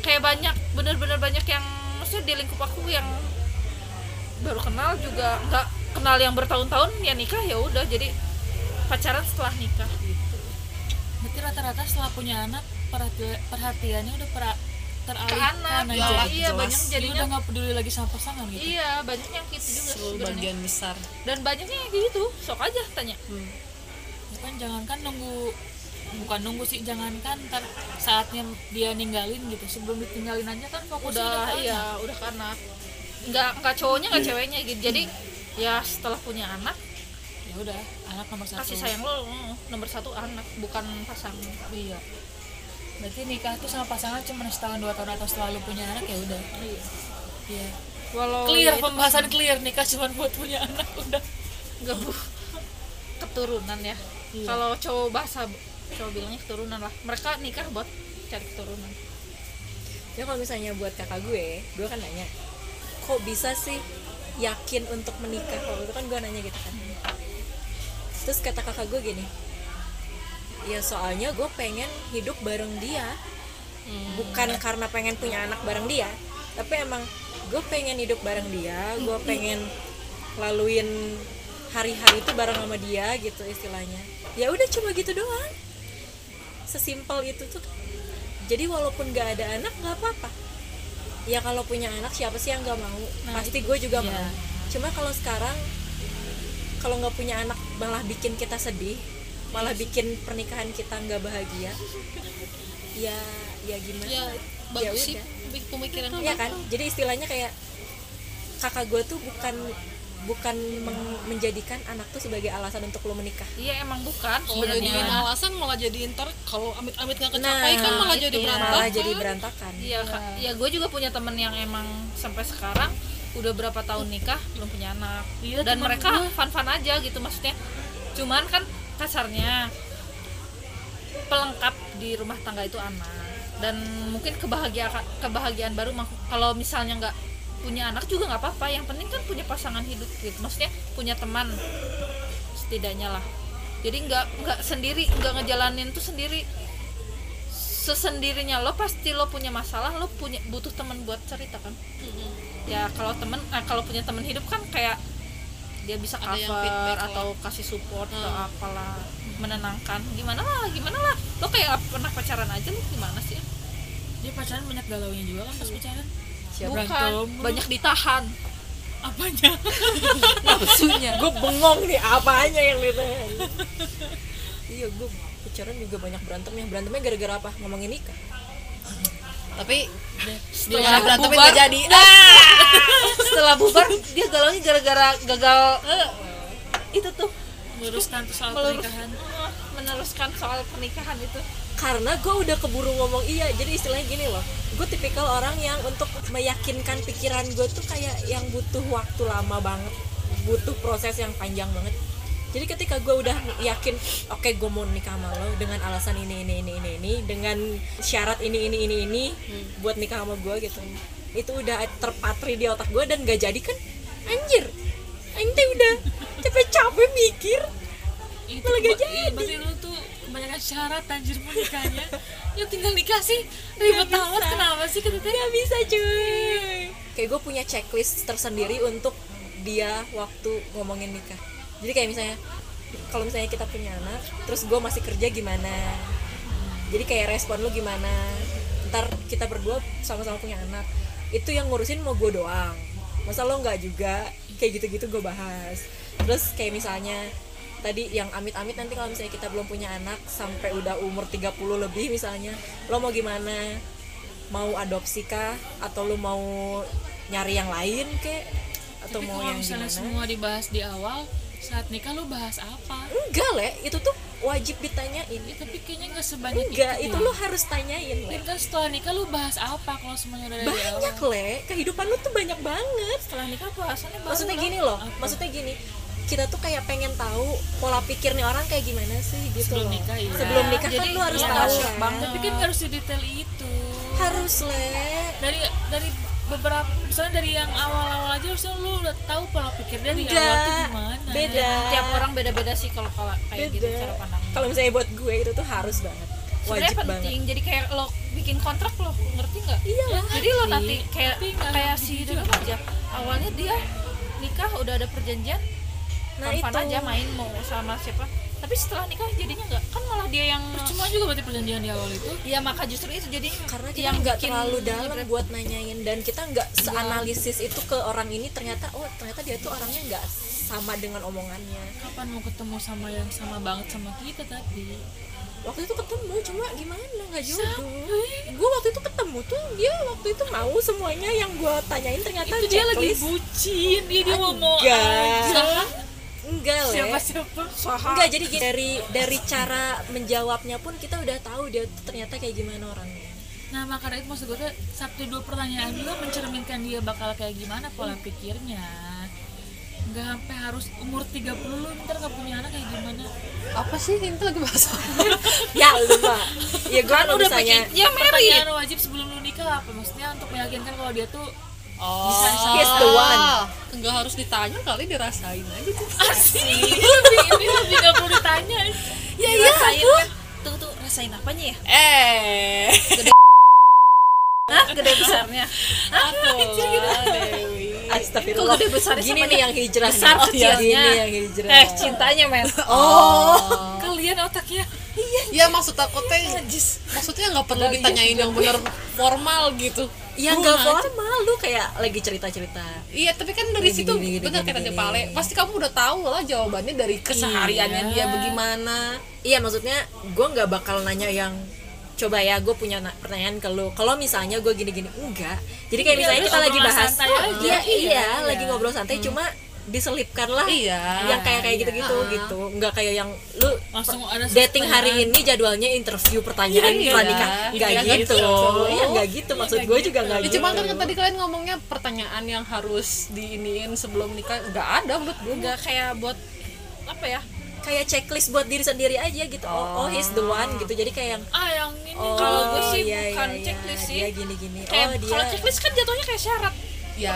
Speaker 3: kayak banyak bener-bener banyak yang maksudnya di lingkup aku yang baru kenal juga nggak kenal yang bertahun-tahun ya nikah ya udah jadi pacaran setelah nikah gitu
Speaker 2: berarti rata-rata setelah punya anak perhati- perhatiannya udah pra-
Speaker 3: ke
Speaker 2: teralihkan
Speaker 3: anak
Speaker 2: aja. Dia
Speaker 3: iya, iya banyak
Speaker 2: udah
Speaker 3: jadinya
Speaker 2: nggak gitu? peduli lagi sama pasangan gitu
Speaker 3: iya banyak yang gitu juga
Speaker 4: Seluruh
Speaker 3: sebenarnya
Speaker 4: bagian besar
Speaker 3: dan banyaknya yang kayak gitu sok aja tanya
Speaker 2: kan jangankan nunggu bukan nunggu sih jangankan ntar saatnya dia ninggalin gitu sebelum ditinggalin aja kan fokusnya
Speaker 3: udah
Speaker 2: ke
Speaker 3: iya
Speaker 2: anak.
Speaker 3: udah karena nggak nggak cowoknya nggak ceweknya gitu jadi ya setelah punya anak
Speaker 2: ya udah anak nomor satu
Speaker 3: kasih sayang lo mm, nomor satu anak bukan pasangan
Speaker 2: iya berarti nikah tuh sama pasangan cuma setahun dua tahun atau selalu punya anak ya udah
Speaker 3: Iya.
Speaker 2: iya
Speaker 3: walau
Speaker 2: clear
Speaker 3: ya itu
Speaker 2: pembahasan clear nikah cuma buat punya anak [laughs] udah
Speaker 3: nggak bu- keturunan ya kalau cowok bahasa cowok bilangnya keturunan lah mereka nikah buat cari keturunan
Speaker 5: ya kalau misalnya buat kakak gue gue kan nanya kok bisa sih yakin untuk menikah kalau itu kan gue nanya gitu kan terus kata kakak gue gini ya soalnya gue pengen hidup bareng dia bukan karena pengen punya anak bareng dia tapi emang gue pengen hidup bareng dia gue pengen laluin hari-hari itu bareng sama dia gitu istilahnya ya udah cuma gitu doang sesimpel itu tuh jadi walaupun gak ada anak nggak apa-apa ya kalau punya anak siapa sih yang nggak mau pasti gue juga mau cuma kalau sekarang kalau nggak punya anak malah bikin kita sedih malah bikin pernikahan kita nggak bahagia ya ya gimana
Speaker 4: ya bagus sih
Speaker 5: udah.
Speaker 4: pemikiran
Speaker 5: Iya kan? Jadi istilahnya kayak kakak gue tuh bukan bukan meng- menjadikan anak tuh sebagai alasan untuk lo menikah.
Speaker 3: iya emang bukan
Speaker 4: kalau jadiin
Speaker 3: sebenarnya
Speaker 4: alasan malah jadi ntar kalau amit-amit nggak kecapai kan malah jadi
Speaker 5: iya,
Speaker 4: berantakan
Speaker 5: Malah jadi berantakan.
Speaker 3: iya Kak. ya gue juga punya temen yang emang sampai sekarang udah berapa tahun nikah belum punya anak
Speaker 2: Iya,
Speaker 3: dan
Speaker 2: temen
Speaker 3: mereka
Speaker 2: gue.
Speaker 3: fan fan aja gitu maksudnya cuman kan kasarnya pelengkap di rumah tangga itu anak dan mungkin kebahagiaan kebahagiaan baru mah- kalau misalnya nggak punya anak juga nggak apa-apa yang penting kan punya pasangan hidup gitu maksudnya punya teman setidaknya lah jadi nggak nggak sendiri nggak ngejalanin tuh sendiri sesendirinya lo pasti lo punya masalah lo punya butuh teman buat cerita kan
Speaker 4: Mm-hmm.
Speaker 3: ya kalau temen eh, kalau punya teman hidup kan kayak dia bisa
Speaker 4: Ada yang
Speaker 3: cover
Speaker 4: feedback lah.
Speaker 3: atau kasih support atau
Speaker 4: Hmm.
Speaker 3: apalah menenangkan gimana lah gimana lah lo kayak pernah pacaran aja lo gimana sih
Speaker 2: dia pacaran banyak galau nya juga kan pas pacaran
Speaker 3: bukan
Speaker 2: Berantem.
Speaker 3: banyak ditahan
Speaker 2: apanya
Speaker 1: nafsunya
Speaker 5: Gue bengong nih apanya yang lo tahan? Iya gue pacaran juga banyak berantemnya. Berantemnya gara-gara apa? Ngomongin nikah.
Speaker 4: tapi
Speaker 5: Setelah berantem
Speaker 3: bubar.
Speaker 5: gak jadi. Ah!
Speaker 3: setelah bubar dia galaunya gara-gara gagal eh, itu tuh
Speaker 2: meluruskan tuh soal
Speaker 3: melurus-
Speaker 2: pernikahan
Speaker 3: eh, meneruskan soal pernikahan itu
Speaker 5: Karena gue udah keburu ngomong iya. Jadi istilahnya gini loh. Gue tipikal orang yang untuk meyakinkan pikiran gue tuh kayak yang butuh waktu lama banget, butuh proses yang panjang banget. Jadi ketika gue udah yakin, oke gue mau nikah sama lo dengan alasan ini ini ini ini ini, dengan syarat ini ini ini ini buat nikah sama gue gitu. Itu udah terpatri di otak gue dan gak jadi kan? Anjir, ente udah capek-capek mikir.
Speaker 2: itu
Speaker 5: Malah gak
Speaker 2: ba-
Speaker 5: jadi.
Speaker 2: iya, berarti lu tuh kebanyakan syarat anjir [laughs] pernikahannya ya tinggal nikah sih ribet banget kenapa sih kata teh
Speaker 5: nggak bisa cuy kayak gue punya checklist tersendiri untuk dia waktu ngomongin nikah jadi kayak misalnya kalau misalnya kita punya anak terus gue masih kerja gimana jadi kayak respon lu gimana ntar kita berdua sama-sama punya anak itu yang ngurusin mau gue doang masa lo nggak juga kayak gitu-gitu gue bahas terus kayak misalnya tadi yang amit-amit nanti kalau misalnya kita belum punya anak sampai udah umur 30 lebih misalnya lo mau gimana mau adopsi kah atau lo mau nyari yang lain kek atau
Speaker 2: tapi
Speaker 5: mau
Speaker 2: kalau
Speaker 5: yang
Speaker 2: misalnya
Speaker 5: gimana
Speaker 2: semua dibahas di awal saat nikah lu bahas apa
Speaker 5: enggak le itu tuh wajib ditanyain
Speaker 2: ya tapi kayaknya nggak sebanyak
Speaker 5: enggak itu
Speaker 2: ya.
Speaker 5: lo harus tanyain le
Speaker 2: Dan kan setelah nikah lu bahas apa kalau semuanya udah dari
Speaker 5: banyak
Speaker 2: awal?
Speaker 5: le kehidupan lu tuh banyak banget
Speaker 2: Setelah nikah bahasannya baru
Speaker 5: maksudnya
Speaker 2: dong.
Speaker 5: gini loh
Speaker 2: Apa?
Speaker 5: maksudnya gini kita tuh kayak pengen tahu pola pikir nih orang kayak gimana sih gitu
Speaker 2: Sebelum
Speaker 5: loh
Speaker 2: nikah, iya.
Speaker 5: sebelum nikah kan
Speaker 3: Jadi,
Speaker 5: lu harus
Speaker 3: iya,
Speaker 5: tahu
Speaker 3: harus
Speaker 5: kan?
Speaker 2: Tapi kan nggak harus detail itu.
Speaker 5: harus le
Speaker 2: Dari dari beberapa misalnya dari yang awal-awal aja harusnya lu udah tahu pola pikir dari awal tuh
Speaker 5: enggak
Speaker 2: gimana.
Speaker 5: beda
Speaker 3: tiap
Speaker 4: Nah.
Speaker 3: orang beda-beda sih kalau kalau kayak gitu
Speaker 5: Beda.
Speaker 3: cara pandang
Speaker 5: kalau misalnya buat gue itu tuh harus banget
Speaker 3: sebenarnya
Speaker 5: wajib
Speaker 3: penting
Speaker 5: banget
Speaker 3: jadi kayak lo bikin kontrak lo ngerti nggak
Speaker 5: iya lah
Speaker 3: jadi lo nanti kayak
Speaker 2: Tapi nggak
Speaker 3: kayak
Speaker 2: lebih
Speaker 3: si
Speaker 2: gitu
Speaker 3: Jono aja awalnya dia nikah udah ada perjanjian nah
Speaker 5: nah itu
Speaker 3: aja main mau sama siapa tapi setelah nikah jadinya nggak kan malah dia yang
Speaker 2: Percuma juga berarti perjanjian di awal itu.
Speaker 3: ya maka justru itu jadi
Speaker 5: karena kita nggak terlalu dalam buat nanyain dan kita nggak
Speaker 3: Iya.
Speaker 5: seanalisis itu ke orang ini ternyata oh ternyata dia tuh orangnya nggak sama dengan omongannya
Speaker 2: Kapan mau ketemu sama yang sama banget sama kita tadi?
Speaker 5: waktu itu ketemu cuma gimana nggak jodoh gue waktu itu ketemu tuh dia waktu itu mau semuanya yang gue tanyain ternyata
Speaker 2: itu dia lagi
Speaker 5: checklist.
Speaker 2: bucin, dia dia mau mau
Speaker 5: enggak enggak le
Speaker 2: siapa siapa
Speaker 5: enggak jadi gini, dari dari cara menjawabnya pun kita udah tahu dia tuh ternyata kayak gimana orangnya
Speaker 2: Nah makanya itu maksud gue tuh, satu dua pertanyaan dulu mencerminkan dia bakal kayak gimana pola pikirnya nggak sampai harus umur 30 lu ntar nggak punya anak kayak gimana
Speaker 4: apa sih ini tuh lagi bahas apa?
Speaker 5: ya lupa ya gue
Speaker 3: udah
Speaker 5: misalnya
Speaker 3: bikin ya married
Speaker 2: pertanyaan wajib sebelum lu nikah apa maksudnya untuk meyakinkan kalau dia tuh [laughs]
Speaker 4: oh
Speaker 5: he's the one
Speaker 4: nggak harus ditanya kali dirasain aja tuh
Speaker 2: asli ini lebih ini lebih nggak perlu ditanya
Speaker 5: ya iya tuh tuh tuh rasain apanya ya
Speaker 3: eh
Speaker 5: Hah? gede besarnya
Speaker 3: Apalah, Dewi Kok
Speaker 5: Astagfirullah
Speaker 3: gede besarnya
Speaker 5: Gini
Speaker 3: sama
Speaker 5: nih
Speaker 3: dia?
Speaker 5: yang hijrah
Speaker 3: Besar
Speaker 5: nih.
Speaker 3: kecilnya.
Speaker 5: Gini yang hijrah
Speaker 3: eh cintanya men
Speaker 5: Oh
Speaker 3: kalian otaknya
Speaker 4: ya maksud aku teh
Speaker 3: Iya,
Speaker 4: maksudnya nggak perlu ditanyain yang bener formal gitu Lu
Speaker 5: Yang gak
Speaker 4: ngaco.
Speaker 5: Ya, formal Lu kayak lagi cerita-cerita
Speaker 4: Iya, tapi kan dari
Speaker 5: Gini,
Speaker 4: situ
Speaker 5: gini, gini,
Speaker 4: bener
Speaker 5: gini,
Speaker 4: kata
Speaker 5: gini. Iya.
Speaker 4: Jepale, pasti kamu udah tahu lah jawabannya dari kesehariannya dia bagaimana.
Speaker 5: Gimana Iya maksudnya Gue gak bakal nanya yang Coba ya gue punya na- pertanyaan ke lu Kalau misalnya gue gini-gini Enggak Jadi kayak
Speaker 2: Iya,
Speaker 5: misalnya kita
Speaker 2: obrolan
Speaker 5: lagi bahas
Speaker 2: santai
Speaker 5: oh,
Speaker 2: aja.
Speaker 5: iya,
Speaker 2: Iya,
Speaker 5: iya,
Speaker 2: iya.
Speaker 5: lagi ngobrol santai Cuma diselipkan lah
Speaker 4: Iya.
Speaker 5: Yang kayak kayak gitu-gitu gitu Enggak kayak yang Lu
Speaker 2: Langsung ada
Speaker 5: dating
Speaker 2: pertanyaan.
Speaker 5: hari ini jadwalnya interview pertanyaan
Speaker 4: Iya,
Speaker 5: setelah nikah
Speaker 4: iya.
Speaker 5: nggak
Speaker 4: Iya,
Speaker 5: gitu iya nggak gitu maksud gue juga nggak
Speaker 4: Ya,
Speaker 5: gitu
Speaker 4: cuma kan kan tadi kalian ngomongnya pertanyaan yang harus diiniin sebelum nikah nggak ada menurut gue.
Speaker 3: nggak kayak buat apa ya
Speaker 5: kayak checklist buat diri sendiri aja gitu oh, oh he's the one gitu jadi kayak yang
Speaker 2: ah yang ini
Speaker 5: oh
Speaker 3: Kalau gue sih
Speaker 5: iya, iya,
Speaker 3: bukan
Speaker 5: iya,
Speaker 3: checklist sih.
Speaker 5: dia gini gini
Speaker 3: kayak
Speaker 5: oh dia
Speaker 3: kalau checklist kan jatuhnya kayak syarat
Speaker 4: Ya,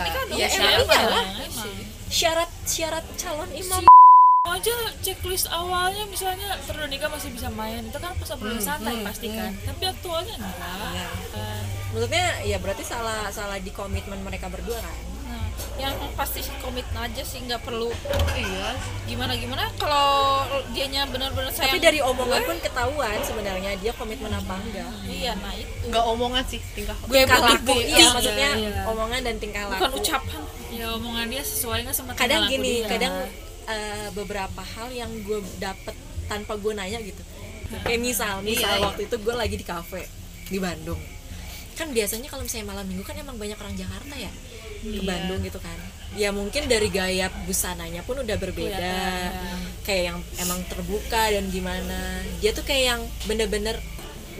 Speaker 3: ya,
Speaker 2: Eh,
Speaker 4: ya,
Speaker 3: emang
Speaker 4: syarat
Speaker 3: iya
Speaker 4: lah.
Speaker 3: lah.
Speaker 5: syarat syarat calon
Speaker 3: Iya.
Speaker 5: imam
Speaker 2: Mau aja checklist awalnya misalnya terus nikah masih bisa main itu kan pas obrolan
Speaker 5: Hmm,
Speaker 2: santai pasti kan tapi aktualnya enggak
Speaker 5: Iya.
Speaker 2: Eh,
Speaker 5: maksudnya ya berarti salah salah di komitmen mereka berdua kan
Speaker 3: Nah, yang pasti komit aja sih nggak perlu
Speaker 4: Iya.
Speaker 3: gimana gimana kalau dianya benar-benar sayang
Speaker 5: tapi dari omongan pun ketahuan sebenarnya dia komitmen apa enggak
Speaker 3: iya nah itu
Speaker 4: Nggak omongan sih tingkah.
Speaker 5: gue
Speaker 3: butuh bukti.
Speaker 5: iya maksudnya omongan dan tingkah laku
Speaker 3: bukan ucapan iya.
Speaker 2: ya omongan dia sesuai nggak sama tingkah
Speaker 5: kadang
Speaker 2: laku
Speaker 5: gini
Speaker 2: dia.
Speaker 5: kadang eh, beberapa hal yang gue dapet tanpa gue nanya gitu
Speaker 3: Iya,
Speaker 5: kayak misal misal waktu itu gue lagi di kafe di Bandung kan biasanya kalau misalnya malam minggu kan emang banyak orang Jakarta ya
Speaker 4: Iya.
Speaker 5: ke Bandung gitu kan ya mungkin dari gaya busananya pun udah berbeda kayak yang emang terbuka dan gimana dia tuh kayak yang bener-bener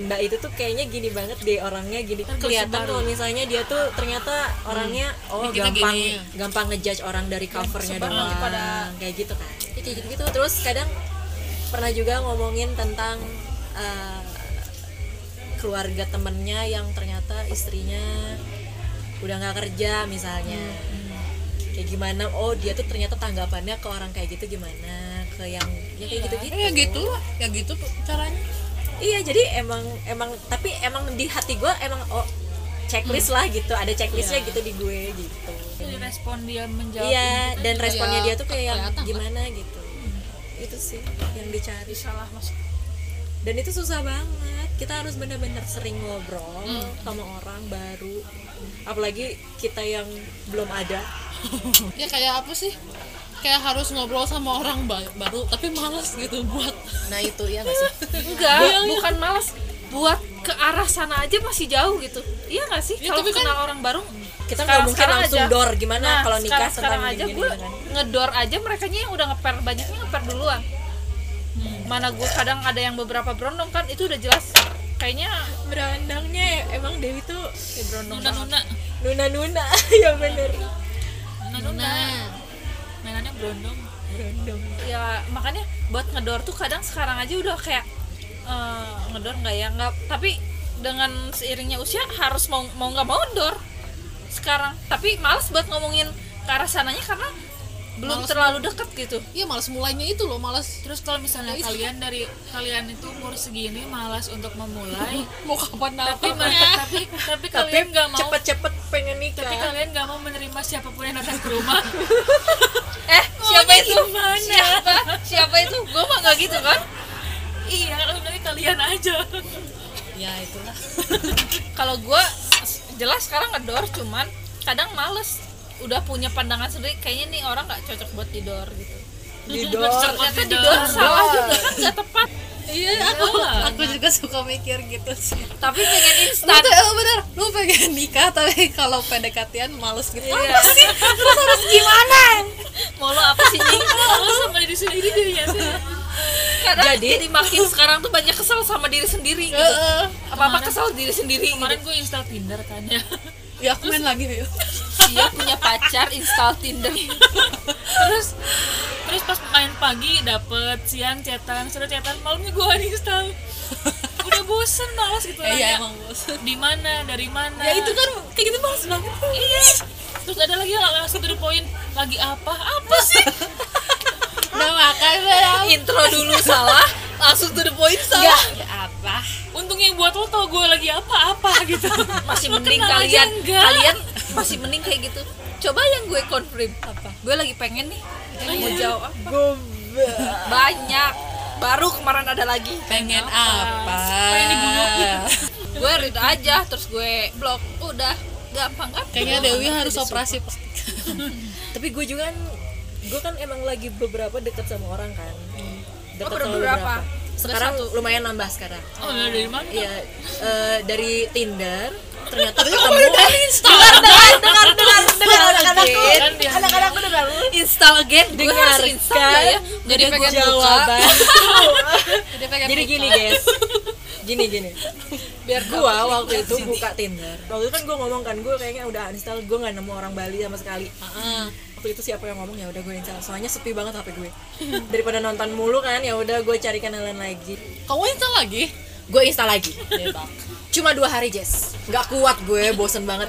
Speaker 5: Mbak itu tuh kayaknya gini banget deh orangnya gini kelihatan kalau misalnya dia tuh ternyata orangnya oh
Speaker 4: Hmm. kita
Speaker 5: gampang
Speaker 4: gini.
Speaker 5: gampang ngejudge orang dari covernya doang kayak gitu kan Ya, kayak gitu gitu terus kadang pernah juga ngomongin tentang eh, keluarga temennya yang ternyata istrinya udah nggak kerja misalnya kayak gimana oh dia tuh ternyata tanggapannya ke orang kayak gitu gimana ke yang ya kayak gitu gitu
Speaker 4: Ya gitu lah, ya gitu caranya.
Speaker 5: iya jadi emang emang tapi emang di hati gue emang oh checklist lah gitu ada checklistnya
Speaker 3: Iya.
Speaker 5: gitu di gue gitu
Speaker 2: Jadi respon dia menjawab
Speaker 3: gitu kan
Speaker 5: iya dan responnya dia tuh kayak yang
Speaker 4: kelihatan lah.
Speaker 5: gimana gitu itu sih yang dicari
Speaker 3: salah Hmm. masuk
Speaker 5: dan itu susah banget kita harus bener-bener sering ngobrol
Speaker 3: Hmm.
Speaker 5: sama orang baru apalagi kita yang belum ada
Speaker 4: Ya kayak apa sih? Kayak harus ngobrol sama orang ba- baru tapi males gitu buat.
Speaker 5: nah itu ya nggak sih
Speaker 3: enggak bukan malas buat ke arah sana aja masih jauh gitu iya nggak sih
Speaker 4: Ya,
Speaker 3: kalau
Speaker 4: tapi kan-
Speaker 3: kenal orang baru
Speaker 5: kita nggak
Speaker 3: sekarang-
Speaker 5: mungkin
Speaker 3: sekarang
Speaker 5: langsung
Speaker 3: aja.
Speaker 5: door gimana
Speaker 3: Nah,
Speaker 5: kalau nikah
Speaker 3: sekarang, sekarang
Speaker 5: tentang
Speaker 3: aja
Speaker 5: gini-gini
Speaker 3: gue
Speaker 5: kan?
Speaker 3: ngedor aja mereka yang udah ngeper banyaknya ngeper duluan mana gue kadang ada yang beberapa berondong kan itu udah jelas kayaknya
Speaker 5: berandangnya emang Dewi tuh ya berondong
Speaker 2: nuna nuna
Speaker 5: nuna nuna ya bener
Speaker 2: nuna nuna
Speaker 3: Nah.
Speaker 2: mainannya berondong
Speaker 5: berondong
Speaker 3: ya makanya buat ngedor tuh kadang sekarang aja udah kayak eh, ngedor nggak ya nggak tapi dengan seiringnya usia harus mau mau nggak mau ngedor sekarang tapi males buat ngomongin ke arah sananya karena belum terlalu deket gitu
Speaker 4: Iya males mulainya itu loh, males
Speaker 2: terus kalau misalnya kalian dari kalian itu umur segini malas untuk
Speaker 3: [laughs]
Speaker 2: memulai
Speaker 4: mau kapan
Speaker 2: tapi
Speaker 4: nafas.
Speaker 2: tapi tapi kalian nggak mau
Speaker 5: cepet-cepet pengen nikah
Speaker 2: tapi kalian nggak mau menerima siapapun yang datang ke
Speaker 3: [laughs]
Speaker 2: rumah
Speaker 3: eh siapa
Speaker 2: Maunya
Speaker 3: itu
Speaker 2: gimana?
Speaker 3: siapa siapa itu gue mah nggak gitu kan
Speaker 2: iya kalau bilang kalian aja
Speaker 4: Ya itulah.
Speaker 3: kalau gue jelas sekarang ngedor cuman kadang males udah punya pandangan sendiri kayaknya nih orang nggak cocok buat didor gitu
Speaker 5: Didor.
Speaker 3: ternyata didor salah juga kan nggak tepat
Speaker 4: Iya, aku aku juga suka mikir gitu sih.
Speaker 3: tapi pengen
Speaker 4: Lu
Speaker 3: instan
Speaker 4: tuh eh, bener, lu pengen nikah tapi kalau pendekatan males gitu. Apa sih? Terus harus gimana?
Speaker 3: mau lo apa sih Nying?
Speaker 2: kalau sama diri sendiri dia ya
Speaker 3: kadang jadi, makin sekarang tuh banyak kesel sama diri sendiri gitu apa apa kesel diri sendiri
Speaker 2: kemarin
Speaker 3: gitu.
Speaker 2: gue install Tinder kan ya [laughs]
Speaker 4: Ya aku main lagi yuk.
Speaker 3: dia punya pacar install tinder
Speaker 2: terus terus pas main pagi dapet siang cetan sore cetan malamnya gue [laughs] uninstall udah bosen malas gitu
Speaker 4: Eh,
Speaker 2: nanya,
Speaker 4: Iya emang bosan.
Speaker 2: di mana dari mana
Speaker 4: Ya itu kan kayak gitu males banget. Iya.
Speaker 2: terus ada lagi yang langsung to the point lagi apa apa sih
Speaker 4: Udah makan udah.
Speaker 3: intro dulu salah langsung to the point salah
Speaker 5: Enggak,
Speaker 3: apa lah
Speaker 2: untungnya buat lo tau gue lagi apa-apa [laughs] gitu
Speaker 3: masih
Speaker 2: Lo
Speaker 3: mending
Speaker 2: kenal aja
Speaker 3: kalian
Speaker 2: enggak.
Speaker 3: kalian masih mending kayak gitu coba yang gue confirm apa gue lagi pengen nih mau
Speaker 4: Iya.
Speaker 3: jawab apa banyak baru kemarin ada lagi
Speaker 1: pengen apa?
Speaker 2: pengen
Speaker 1: [laughs]
Speaker 2: dibunuh
Speaker 3: gue read aja terus gue blok udah gampang kan
Speaker 4: Kayaknya Dewi harus operasi
Speaker 5: tapi gue juga kan gue kan emang lagi beberapa dekat sama orang kan Deket
Speaker 3: Oh, udah
Speaker 5: sama
Speaker 3: beberapa?
Speaker 5: sekarang lumayan nambah sekarang
Speaker 2: oh udah dari mana
Speaker 5: Iya, eh, dari Tinder ternyata ketemu dari dengar dengar dengar dengar anak-anakku anak-anakku dengar
Speaker 3: install again gue harus install nggak ya
Speaker 5: dengarkan
Speaker 3: jadi pengen
Speaker 5: [laughs]
Speaker 3: buka
Speaker 5: jawaban
Speaker 3: jadi pengen
Speaker 5: jadi gini guys gini gini biar gua waktu itu buka Tinder waktu itu kan gua ngomong kan gua kayaknya udah uninstall gua nggak nemu orang Bali sama sekali waktu itu siapa yang ngomong ya udah gue install soalnya sepi banget HP gue [laughs] daripada nonton mulu kan ya udah gue cari kenalan lagi
Speaker 4: Kamu install lagi?
Speaker 5: gue install
Speaker 4: [laughs]
Speaker 5: lagi cuma dua hari Jess nggak kuat gue bosen banget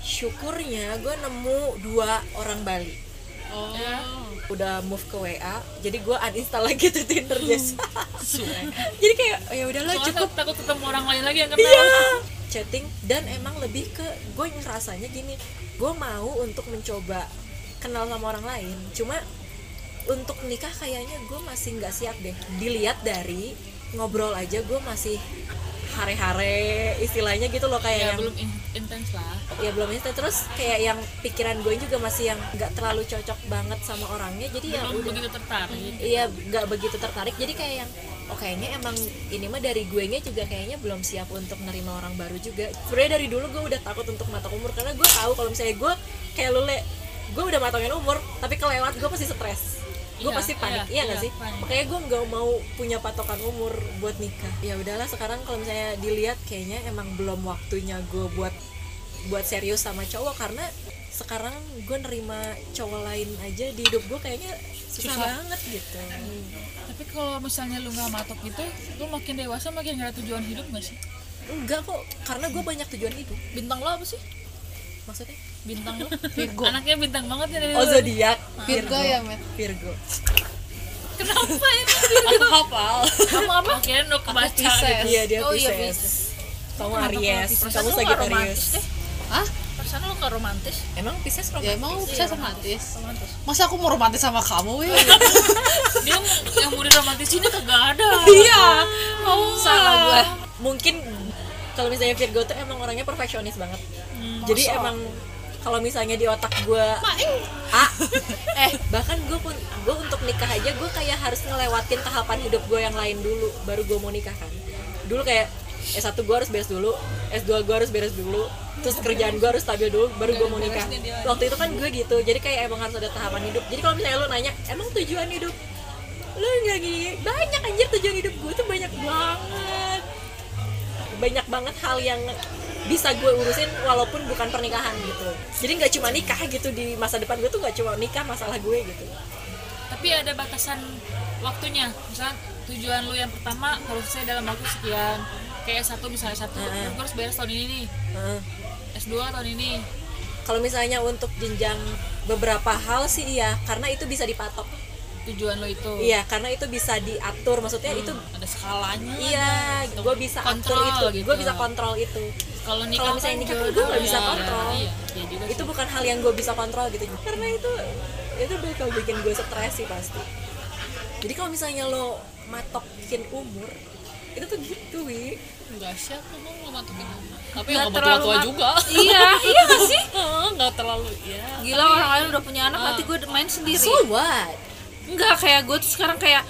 Speaker 5: syukurnya gue nemu dua orang Bali Ya.
Speaker 4: Oh.
Speaker 5: udah move ke WA jadi gue uninstall lagi tuh Tinder Jess [laughs] jadi kayak oh, ya udahlah
Speaker 2: Hmm. Soalnya
Speaker 5: cukup
Speaker 2: takut- takut ketemu orang lain lagi yang kenal
Speaker 5: iya chatting dan emang lebih ke gue ngerasanya gini gue mau untuk mencoba kenal sama orang lain cuma untuk nikah kayaknya gue masih nggak siap deh dilihat dari ngobrol aja gue masih hare-hare istilahnya gitu loh kayak
Speaker 2: ya
Speaker 5: yang-
Speaker 2: belum in- intens lah
Speaker 5: ya belum instan terus kayak yang pikiran gue juga masih yang nggak terlalu cocok banget sama orangnya jadi ya
Speaker 2: belum
Speaker 5: udah
Speaker 2: begitu tertarik
Speaker 5: iya nggak begitu tertarik jadi kayak yang oh kayaknya emang ini mah dari gue nya juga kayaknya belum siap untuk nerima orang baru juga sebenarnya dari dulu gue udah takut untuk matang umur karena gue tahu kalau misalnya gue kayak lule gue udah matangin umur tapi kelewat gue pasti stres gue
Speaker 2: Iya,
Speaker 5: pasti
Speaker 2: iya,
Speaker 5: panik iya nggak
Speaker 2: iya,
Speaker 5: sih
Speaker 2: panik.
Speaker 5: makanya gue nggak mau punya patokan umur buat nikah ya udahlah sekarang kalau misalnya dilihat kayaknya emang belum waktunya gue buat buat serius sama cowok karena sekarang gue nerima cowok lain aja di hidup gue kayaknya susah, banget gitu
Speaker 2: tapi kalau misalnya lu nggak matok gitu lu makin dewasa makin nggak ada tujuan hidup nggak sih
Speaker 5: enggak kok karena gue banyak tujuan hidup
Speaker 2: bintang lo apa sih
Speaker 5: maksudnya
Speaker 2: bintang lo anaknya bintang banget ya dari
Speaker 5: oh
Speaker 2: lu.
Speaker 5: zodiak
Speaker 4: Virgo
Speaker 3: Iya,
Speaker 4: ya, Met.
Speaker 5: Virgo
Speaker 2: kenapa ya
Speaker 4: Aku hafal.
Speaker 2: kamu apa kira udah kebaca
Speaker 4: ya.
Speaker 2: gitu.
Speaker 5: iya dia
Speaker 3: Oh, iya,
Speaker 5: Pisces kamu Aries kamu
Speaker 3: Perasaan lu nggak romantis
Speaker 5: Sagittarius
Speaker 3: deh
Speaker 4: Hah?
Speaker 3: perasaan lu nggak romantis
Speaker 5: emang Pisces
Speaker 4: Ya
Speaker 5: romantis
Speaker 4: emang saya
Speaker 2: Iya,
Speaker 4: romantis. Masa aku mau romantis sama kamu, weh?
Speaker 2: dia yang muda romantis ini kagak ada
Speaker 4: Iya. Kamu
Speaker 3: salah gue
Speaker 5: mungkin kalau misalnya Virgo tuh emang orangnya perfeksionis banget jadi emang kalau misalnya di otak gue ah [laughs] eh bahkan gue pun gue untuk nikah aja gue kayak harus ngelewatin tahapan hidup gue yang lain dulu baru gue mau nikah kan dulu kayak S1 gue harus beres dulu S2 gue harus beres dulu terus kerjaan gue harus stabil dulu baru gue mau nikah waktu itu kan gue gitu jadi kayak emang harus ada tahapan hidup jadi kalau misalnya lo nanya emang tujuan hidup lo nggak gini banyak anjir tujuan hidup gue tuh banyak banget banyak banget hal yang bisa gue urusin walaupun bukan pernikahan gitu jadi nggak cuma nikah gitu di masa depan gue tuh nggak cuma nikah masalah gue gitu
Speaker 2: tapi ada batasan waktunya misalnya tujuan lu yang pertama harus saya dalam waktu sekian kayak satu misalnya satu
Speaker 5: Heeh.
Speaker 2: lu harus beres tahun ini nih
Speaker 5: Heeh.
Speaker 2: S2 tahun ini
Speaker 5: kalau misalnya untuk jenjang beberapa hal sih iya karena itu bisa dipatok
Speaker 2: Oh. tujuan lo itu
Speaker 5: iya karena itu bisa diatur maksudnya itu
Speaker 2: ada skalanya
Speaker 5: iya gue bisa atur
Speaker 2: Hmm. Kontrol
Speaker 5: itu
Speaker 2: gitu.
Speaker 5: gue bisa kontrol itu
Speaker 2: kalau nikah
Speaker 5: kalau misalnya nikah kan
Speaker 2: jodoh
Speaker 5: gue nggak
Speaker 2: ya.
Speaker 5: bisa kontrol.
Speaker 2: iya, iya juga
Speaker 5: itu bukan hal yang gue bisa kontrol gitu karena itu itu bakal bikin gue stres sih pasti jadi kalau misalnya lo matokin umur itu tuh gitu wi
Speaker 4: enggak siap aku mau romantis.
Speaker 3: Nggak
Speaker 4: Tapi yang nggak
Speaker 3: terlalu
Speaker 4: tua
Speaker 3: mat-
Speaker 4: juga.
Speaker 2: [laughs]
Speaker 3: iya iya nggak sih
Speaker 4: Heeh, Nggak terlalu ya.
Speaker 3: gila orang lain udah punya anak nanti gue main sendiri
Speaker 5: so what
Speaker 3: Enggak, kayak gue tuh sekarang kayak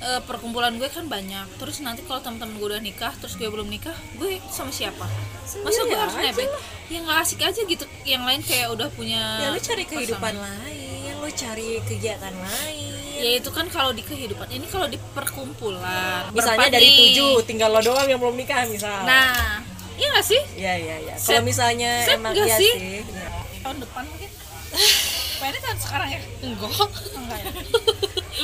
Speaker 3: eh, perkumpulan gue kan banyak terus nanti kalau teman-teman gue udah nikah terus gue belum nikah gue sama siapa masa
Speaker 5: Sendiri
Speaker 3: gue harus
Speaker 5: aja
Speaker 3: nebeng yang nggak asik aja gitu yang lain kayak udah punya
Speaker 5: ya lo cari kehidupan lain lo cari kegiatan lain
Speaker 3: ya itu kan kalau di kehidupan ini kalau di perkumpulan
Speaker 5: misalnya
Speaker 3: Berempat
Speaker 5: dari
Speaker 3: nih.
Speaker 5: tujuh tinggal lo doang yang belum nikah misal
Speaker 3: nah iya nggak sih
Speaker 5: ya ya ya
Speaker 3: Set-
Speaker 5: kalau misalnya
Speaker 3: set
Speaker 5: emang
Speaker 3: nggak
Speaker 5: iya
Speaker 3: sih?
Speaker 5: sih, Ya.
Speaker 3: tahun depan mungkin pengennya tahun sekarang ya [laughs]
Speaker 4: Enggak.
Speaker 3: enggak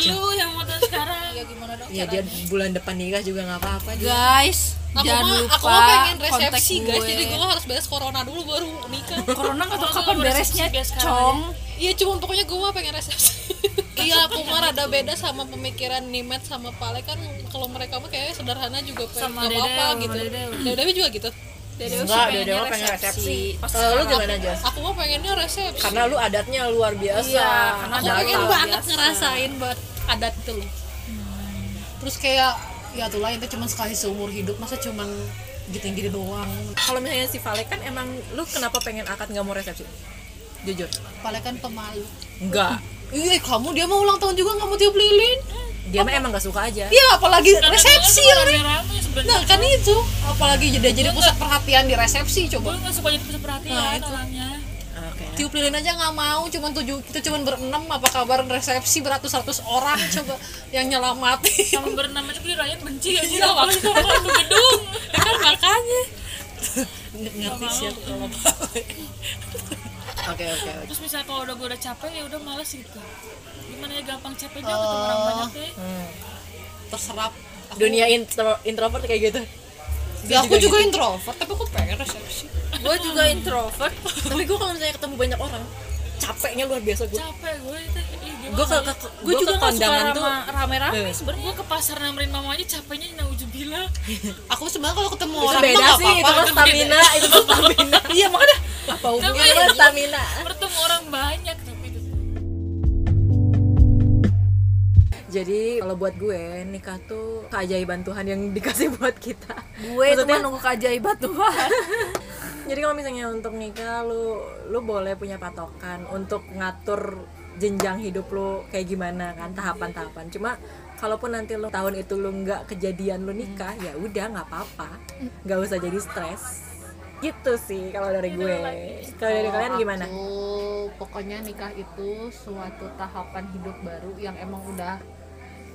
Speaker 3: ya
Speaker 2: lu yang mau tahu sekarang
Speaker 3: ya gimana dong
Speaker 5: ya dia bulan depan nikah juga nggak apa-apa juga
Speaker 1: Guys,
Speaker 4: Aku
Speaker 1: jangan
Speaker 4: mah,
Speaker 1: lupa
Speaker 4: aku mah pengen
Speaker 1: kontak
Speaker 4: resepsi guys,
Speaker 1: gue.
Speaker 4: jadi gue harus beres corona dulu baru nikah.
Speaker 1: Corona nggak tahu
Speaker 2: Oh,
Speaker 1: kapan
Speaker 2: lu resepsi
Speaker 1: beresnya,
Speaker 2: kayak sekarang
Speaker 1: cong.
Speaker 4: Iya cuma pokoknya gue mah pengen resepsi. Iya aku mah rada beda sama pemikiran Nimet sama Pale kan kalau mereka mah kayaknya sederhana juga pengen
Speaker 2: Sama
Speaker 4: nggak apa-apa
Speaker 2: Dede,
Speaker 4: gitu.
Speaker 2: sama Dede.
Speaker 4: Dedewi juga gitu.
Speaker 5: enggak dia dia pengen resepsi kalau lu gimana Jos
Speaker 4: Aku mah pengennya resepsi.
Speaker 5: karena lu adatnya luar biasa
Speaker 3: Iya, karena
Speaker 4: aku
Speaker 5: Batal.
Speaker 4: pengen banget ngerasain buat adat itu loh terus kayak ya itulah itu cuma sekali seumur hidup masa cuman gitu gini doang
Speaker 5: kalau misalnya si Vale kan emang lu kenapa pengen akad nggak mau resepsi jujur
Speaker 4: paling kan pemalu
Speaker 5: enggak
Speaker 4: Iya kamu dia mau ulang tahun juga nggak mau tiup lilin
Speaker 5: dia mah emang nggak suka aja
Speaker 4: Iya apalagi resepsi ya Ren.
Speaker 2: rame sebenarnya
Speaker 4: Nah kan itu Apalagi jadi jadi pusat perhatian di resepsi
Speaker 2: gue
Speaker 4: coba
Speaker 2: nggak suka jadi pusat perhatian
Speaker 4: Nah, itu.
Speaker 2: orangnya
Speaker 5: oke
Speaker 4: Tiup lilin aja nggak mau cuman tujuh Kita cuman berenam apa kabar resepsi beratus-ratus orang coba Yang nyelamatin
Speaker 2: sama bernama itu Ryan benci
Speaker 6: [laughs]
Speaker 2: ya, aja
Speaker 4: Iya,
Speaker 2: sama
Speaker 4: makanya.
Speaker 2: sama orang gedung
Speaker 4: Ya kan makanya ngerti sih aku sama Pale.
Speaker 5: oke oke oke.
Speaker 2: [laughs] terus misalnya kalau udah gue udah capek ya udah males gitu gimana ya gampang capek juga ketemu orang
Speaker 6: Oh.
Speaker 2: banyak ya. deh
Speaker 5: Hmm.
Speaker 4: terserap
Speaker 5: dunia intro- introvert kayak gitu
Speaker 4: ya aku juga introvert tapi aku pengen resepsi
Speaker 5: gue juga introvert tapi gue kalau misalnya ketemu banyak orang capeknya luar biasa gue
Speaker 2: capek gue itu ih, gimana
Speaker 5: gue ke,
Speaker 2: ya?
Speaker 5: ke- gue juga kondangan tuh
Speaker 3: rame-rame
Speaker 5: Eh.
Speaker 3: sebenarnya
Speaker 2: gue ke pasar nemenin mama aja capeknya nina bila
Speaker 4: aku sebenarnya kalau ketemu
Speaker 5: itu
Speaker 4: orang
Speaker 5: beda
Speaker 4: mah nggak
Speaker 5: sih itu
Speaker 4: apa-apa. kan
Speaker 5: mah stamina itu mah stamina iya makanya apa hubungannya sama stamina
Speaker 2: bertemu orang banyak tapi gitu.
Speaker 5: jadi kalau buat gue nikah tuh keajaiban Tuhan yang [laughs] dikasih buat kita
Speaker 1: Gue itu mah nunggu keajaiban Tuhan.
Speaker 5: [laughs] jadi kalau misalnya untuk nikah lu lu boleh punya patokan untuk ngatur jenjang hidup lu kayak gimana kan tahapan-tahapan cuma kalaupun nanti lu tahun itu lu nggak kejadian lu nikah ya udah nggak apa-apa nggak usah jadi stres gitu sih kalau dari gue kalau dari kalian gimana
Speaker 7: Aku, pokoknya nikah itu suatu tahapan hidup baru yang emang udah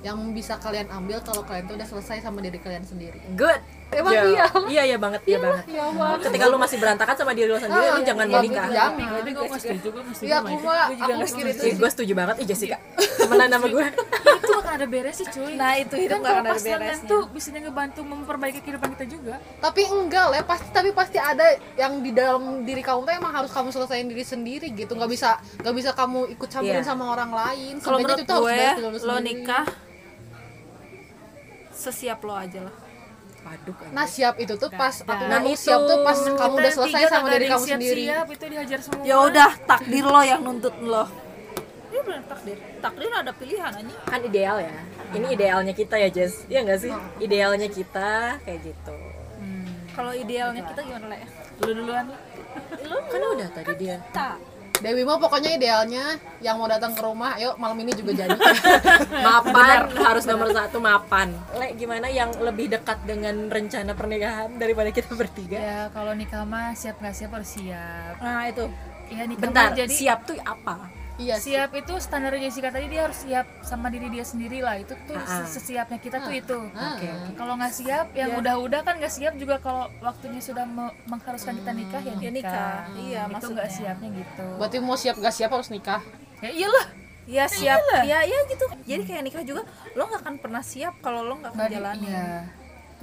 Speaker 7: yang bisa kalian ambil kalau kalian tuh udah selesai sama diri kalian sendiri.
Speaker 5: good
Speaker 7: Emang
Speaker 5: Jo.
Speaker 7: iya?
Speaker 5: iya iya banget iya banget iya,
Speaker 7: Ya wah.
Speaker 5: ketika lu masih berantakan sama diri lu sendiri
Speaker 7: Ah,
Speaker 5: lu jangan
Speaker 7: iya,
Speaker 5: mau nikah
Speaker 7: Tapi gue setuju, gue Iya, aku mah aku mikir itu
Speaker 5: gue setuju banget ih Jessica temenan sama [laughs] gue
Speaker 2: itu akan ada beresnya cuy
Speaker 1: Nah, itu hidup
Speaker 5: Kan
Speaker 2: Dan
Speaker 1: nggak
Speaker 2: kalau
Speaker 1: akan ada
Speaker 2: pasangan
Speaker 1: beresnya.
Speaker 2: tuh bisa ngebantu memperbaiki kehidupan kita juga
Speaker 7: tapi enggak lah ya, pasti tapi pasti ada yang di dalam diri kamu tuh emang harus kamu selesaiin diri sendiri gitu nggak bisa nggak bisa kamu ikut campurin
Speaker 5: Iya.
Speaker 7: sama orang lain
Speaker 1: Kalau
Speaker 7: Sebenarnya
Speaker 1: menurut
Speaker 7: itu harus
Speaker 1: gue,
Speaker 7: beres diri lu
Speaker 1: lo
Speaker 7: sendiri.
Speaker 1: nikah sesiap lo aja lah.
Speaker 5: Waduh, kan.
Speaker 7: nah siap itu tuh pas aku
Speaker 5: Nah,
Speaker 7: ngomong
Speaker 5: itu.
Speaker 7: siap tuh pas kamu udah
Speaker 2: Kita
Speaker 7: selesai
Speaker 2: tiga
Speaker 7: sama
Speaker 2: kagak
Speaker 7: diri
Speaker 2: ada yang
Speaker 7: kamu sendiri
Speaker 2: siap-siap, itu dihajar semua
Speaker 1: Ya udah, takdir lo yang nuntut lo.
Speaker 3: ini benar takdir takdir ada pilihan aja
Speaker 5: kan ideal ya ini idealnya kita ya Jess Iya nggak sih idealnya kita kayak gitu
Speaker 3: kalau idealnya kita gimana lah ya
Speaker 2: lu duluan lah.
Speaker 5: kan udah tadi dia
Speaker 7: Dewi mah pokoknya idealnya yang mau datang ke rumah ayo malam ini juga
Speaker 6: [laughs]
Speaker 7: jadi
Speaker 5: mapan harus nomor satu mapan le gimana yang lebih dekat dengan rencana pernikahan daripada kita bertiga
Speaker 6: Ya kalau nikah mah siap nggak siap harus siap.
Speaker 5: nah itu
Speaker 6: Ya nikah mah
Speaker 5: bentar
Speaker 6: jadi siap.
Speaker 5: siap tuh apa
Speaker 7: iya sih
Speaker 6: itu standar Jessica tadi dia harus siap sama diri dia sendiri lah. Itu tuh
Speaker 5: Ah, ah.
Speaker 6: sesiapnya kita tuh itu.
Speaker 3: ah.
Speaker 5: oke oke.
Speaker 6: Kalau nggak siap,
Speaker 3: Iya.
Speaker 6: yang udah-udah kan nggak siap juga kalau waktunya sudah me- mengharuskan kita nikah ya nikah.
Speaker 3: Hmm, nikah. Iya,
Speaker 6: itu
Speaker 3: maksudnya.
Speaker 6: nggak siapnya gitu.
Speaker 7: berarti mau siap gak siap harus nikah
Speaker 6: Ya iyalah.
Speaker 3: ya siap
Speaker 6: Iya
Speaker 3: ya ya gitu jadi kayak nikah juga lo nggak akan pernah siap kalau lo nggak
Speaker 6: Nggak di-
Speaker 3: menjalani
Speaker 6: iya.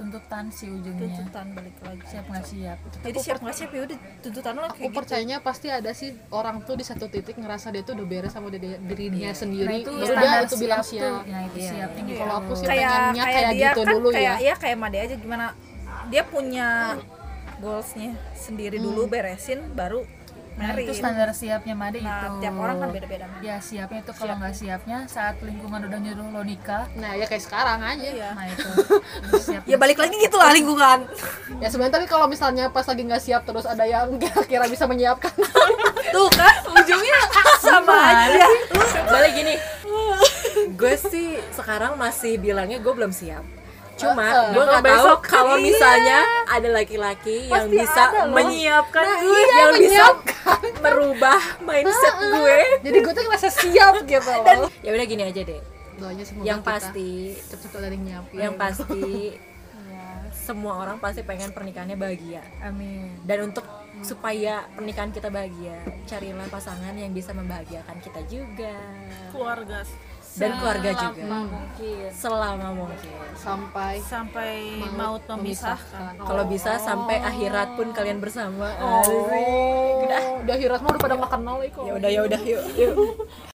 Speaker 6: tuntutan sih ujungnya.
Speaker 3: tuntutan balik lagi
Speaker 6: Siap nggak siap?
Speaker 3: jadi siap nggak siap ya udah tuntutan lo
Speaker 7: aku
Speaker 3: kayak gitu
Speaker 7: percayanya pasti ada sih orang tuh di satu titik ngerasa dia tuh udah beres sama diri, dirinya
Speaker 6: Nah,
Speaker 7: sendiri
Speaker 6: itu
Speaker 7: baru dia
Speaker 6: standar
Speaker 7: ya itu bilang
Speaker 6: siap tuh.
Speaker 7: siap
Speaker 6: Nah, itu siapnya gitu.
Speaker 7: kalau aku sih
Speaker 3: kayak
Speaker 7: pengennya
Speaker 3: kayak,
Speaker 7: kayak,
Speaker 3: dia
Speaker 7: gitu
Speaker 3: kan
Speaker 7: dulu
Speaker 3: kayak
Speaker 7: ya
Speaker 3: ya kayak Made aja gimana dia punya goalsnya sendiri dulu
Speaker 5: Hmm.
Speaker 3: beresin baru
Speaker 6: Nah,
Speaker 3: marry
Speaker 6: itu standar siapnya Made itu.
Speaker 3: nah tiap orang kan beda-beda Made.
Speaker 6: Ya siapnya itu kalau nggak siapnya saat lingkungan udah nyuruh lo nikah,
Speaker 7: nah ya kayak sekarang aja
Speaker 3: Iya.
Speaker 6: nah itu Lo siap.
Speaker 1: Ya balik lagi gitu lah lingkungan.
Speaker 7: ya sebenarnya tapi kalau misalnya pas lagi nggak siap terus ada yang [laughs] kira-kira bisa
Speaker 6: [laughs]
Speaker 7: menyiapkan
Speaker 1: Tuh kan
Speaker 5: [laughs]
Speaker 1: ujungnya sama aja.
Speaker 5: balik
Speaker 1: [laughs]
Speaker 5: gini gue sih sekarang masih bilangnya gue belum siap cuma gue nggak tahu kalau kan iya. misalnya ada laki-laki yang bisa menyiapkan
Speaker 1: Nah,
Speaker 5: gue
Speaker 1: iya,
Speaker 5: yang bisa merubah
Speaker 6: Ah,
Speaker 5: mindset gue
Speaker 7: jadi gue tuh ngerasa siap gitu loh
Speaker 5: ya udah gini aja deh
Speaker 7: doanya semoga
Speaker 5: yang
Speaker 7: kita
Speaker 5: pasti
Speaker 7: cepet-cepet ada yang nyiapin
Speaker 4: Iya.
Speaker 5: yang Iya, pasti semua orang pasti pengen pernikahannya bahagia
Speaker 6: Amin.
Speaker 5: dan untuk supaya pernikahan kita bahagia carilah pasangan yang bisa membahagiakan kita juga
Speaker 3: keluarga
Speaker 5: dan keluarga juga
Speaker 8: Selama mungkin
Speaker 5: selama mungkin
Speaker 4: sampai
Speaker 8: sampai maut memisahkan.
Speaker 5: kalau bisa sampai akhirat pun kalian bersama
Speaker 4: Oh, udah akhirat mah udah pada makan nol kok.
Speaker 5: ya udah ya udah yuk yuk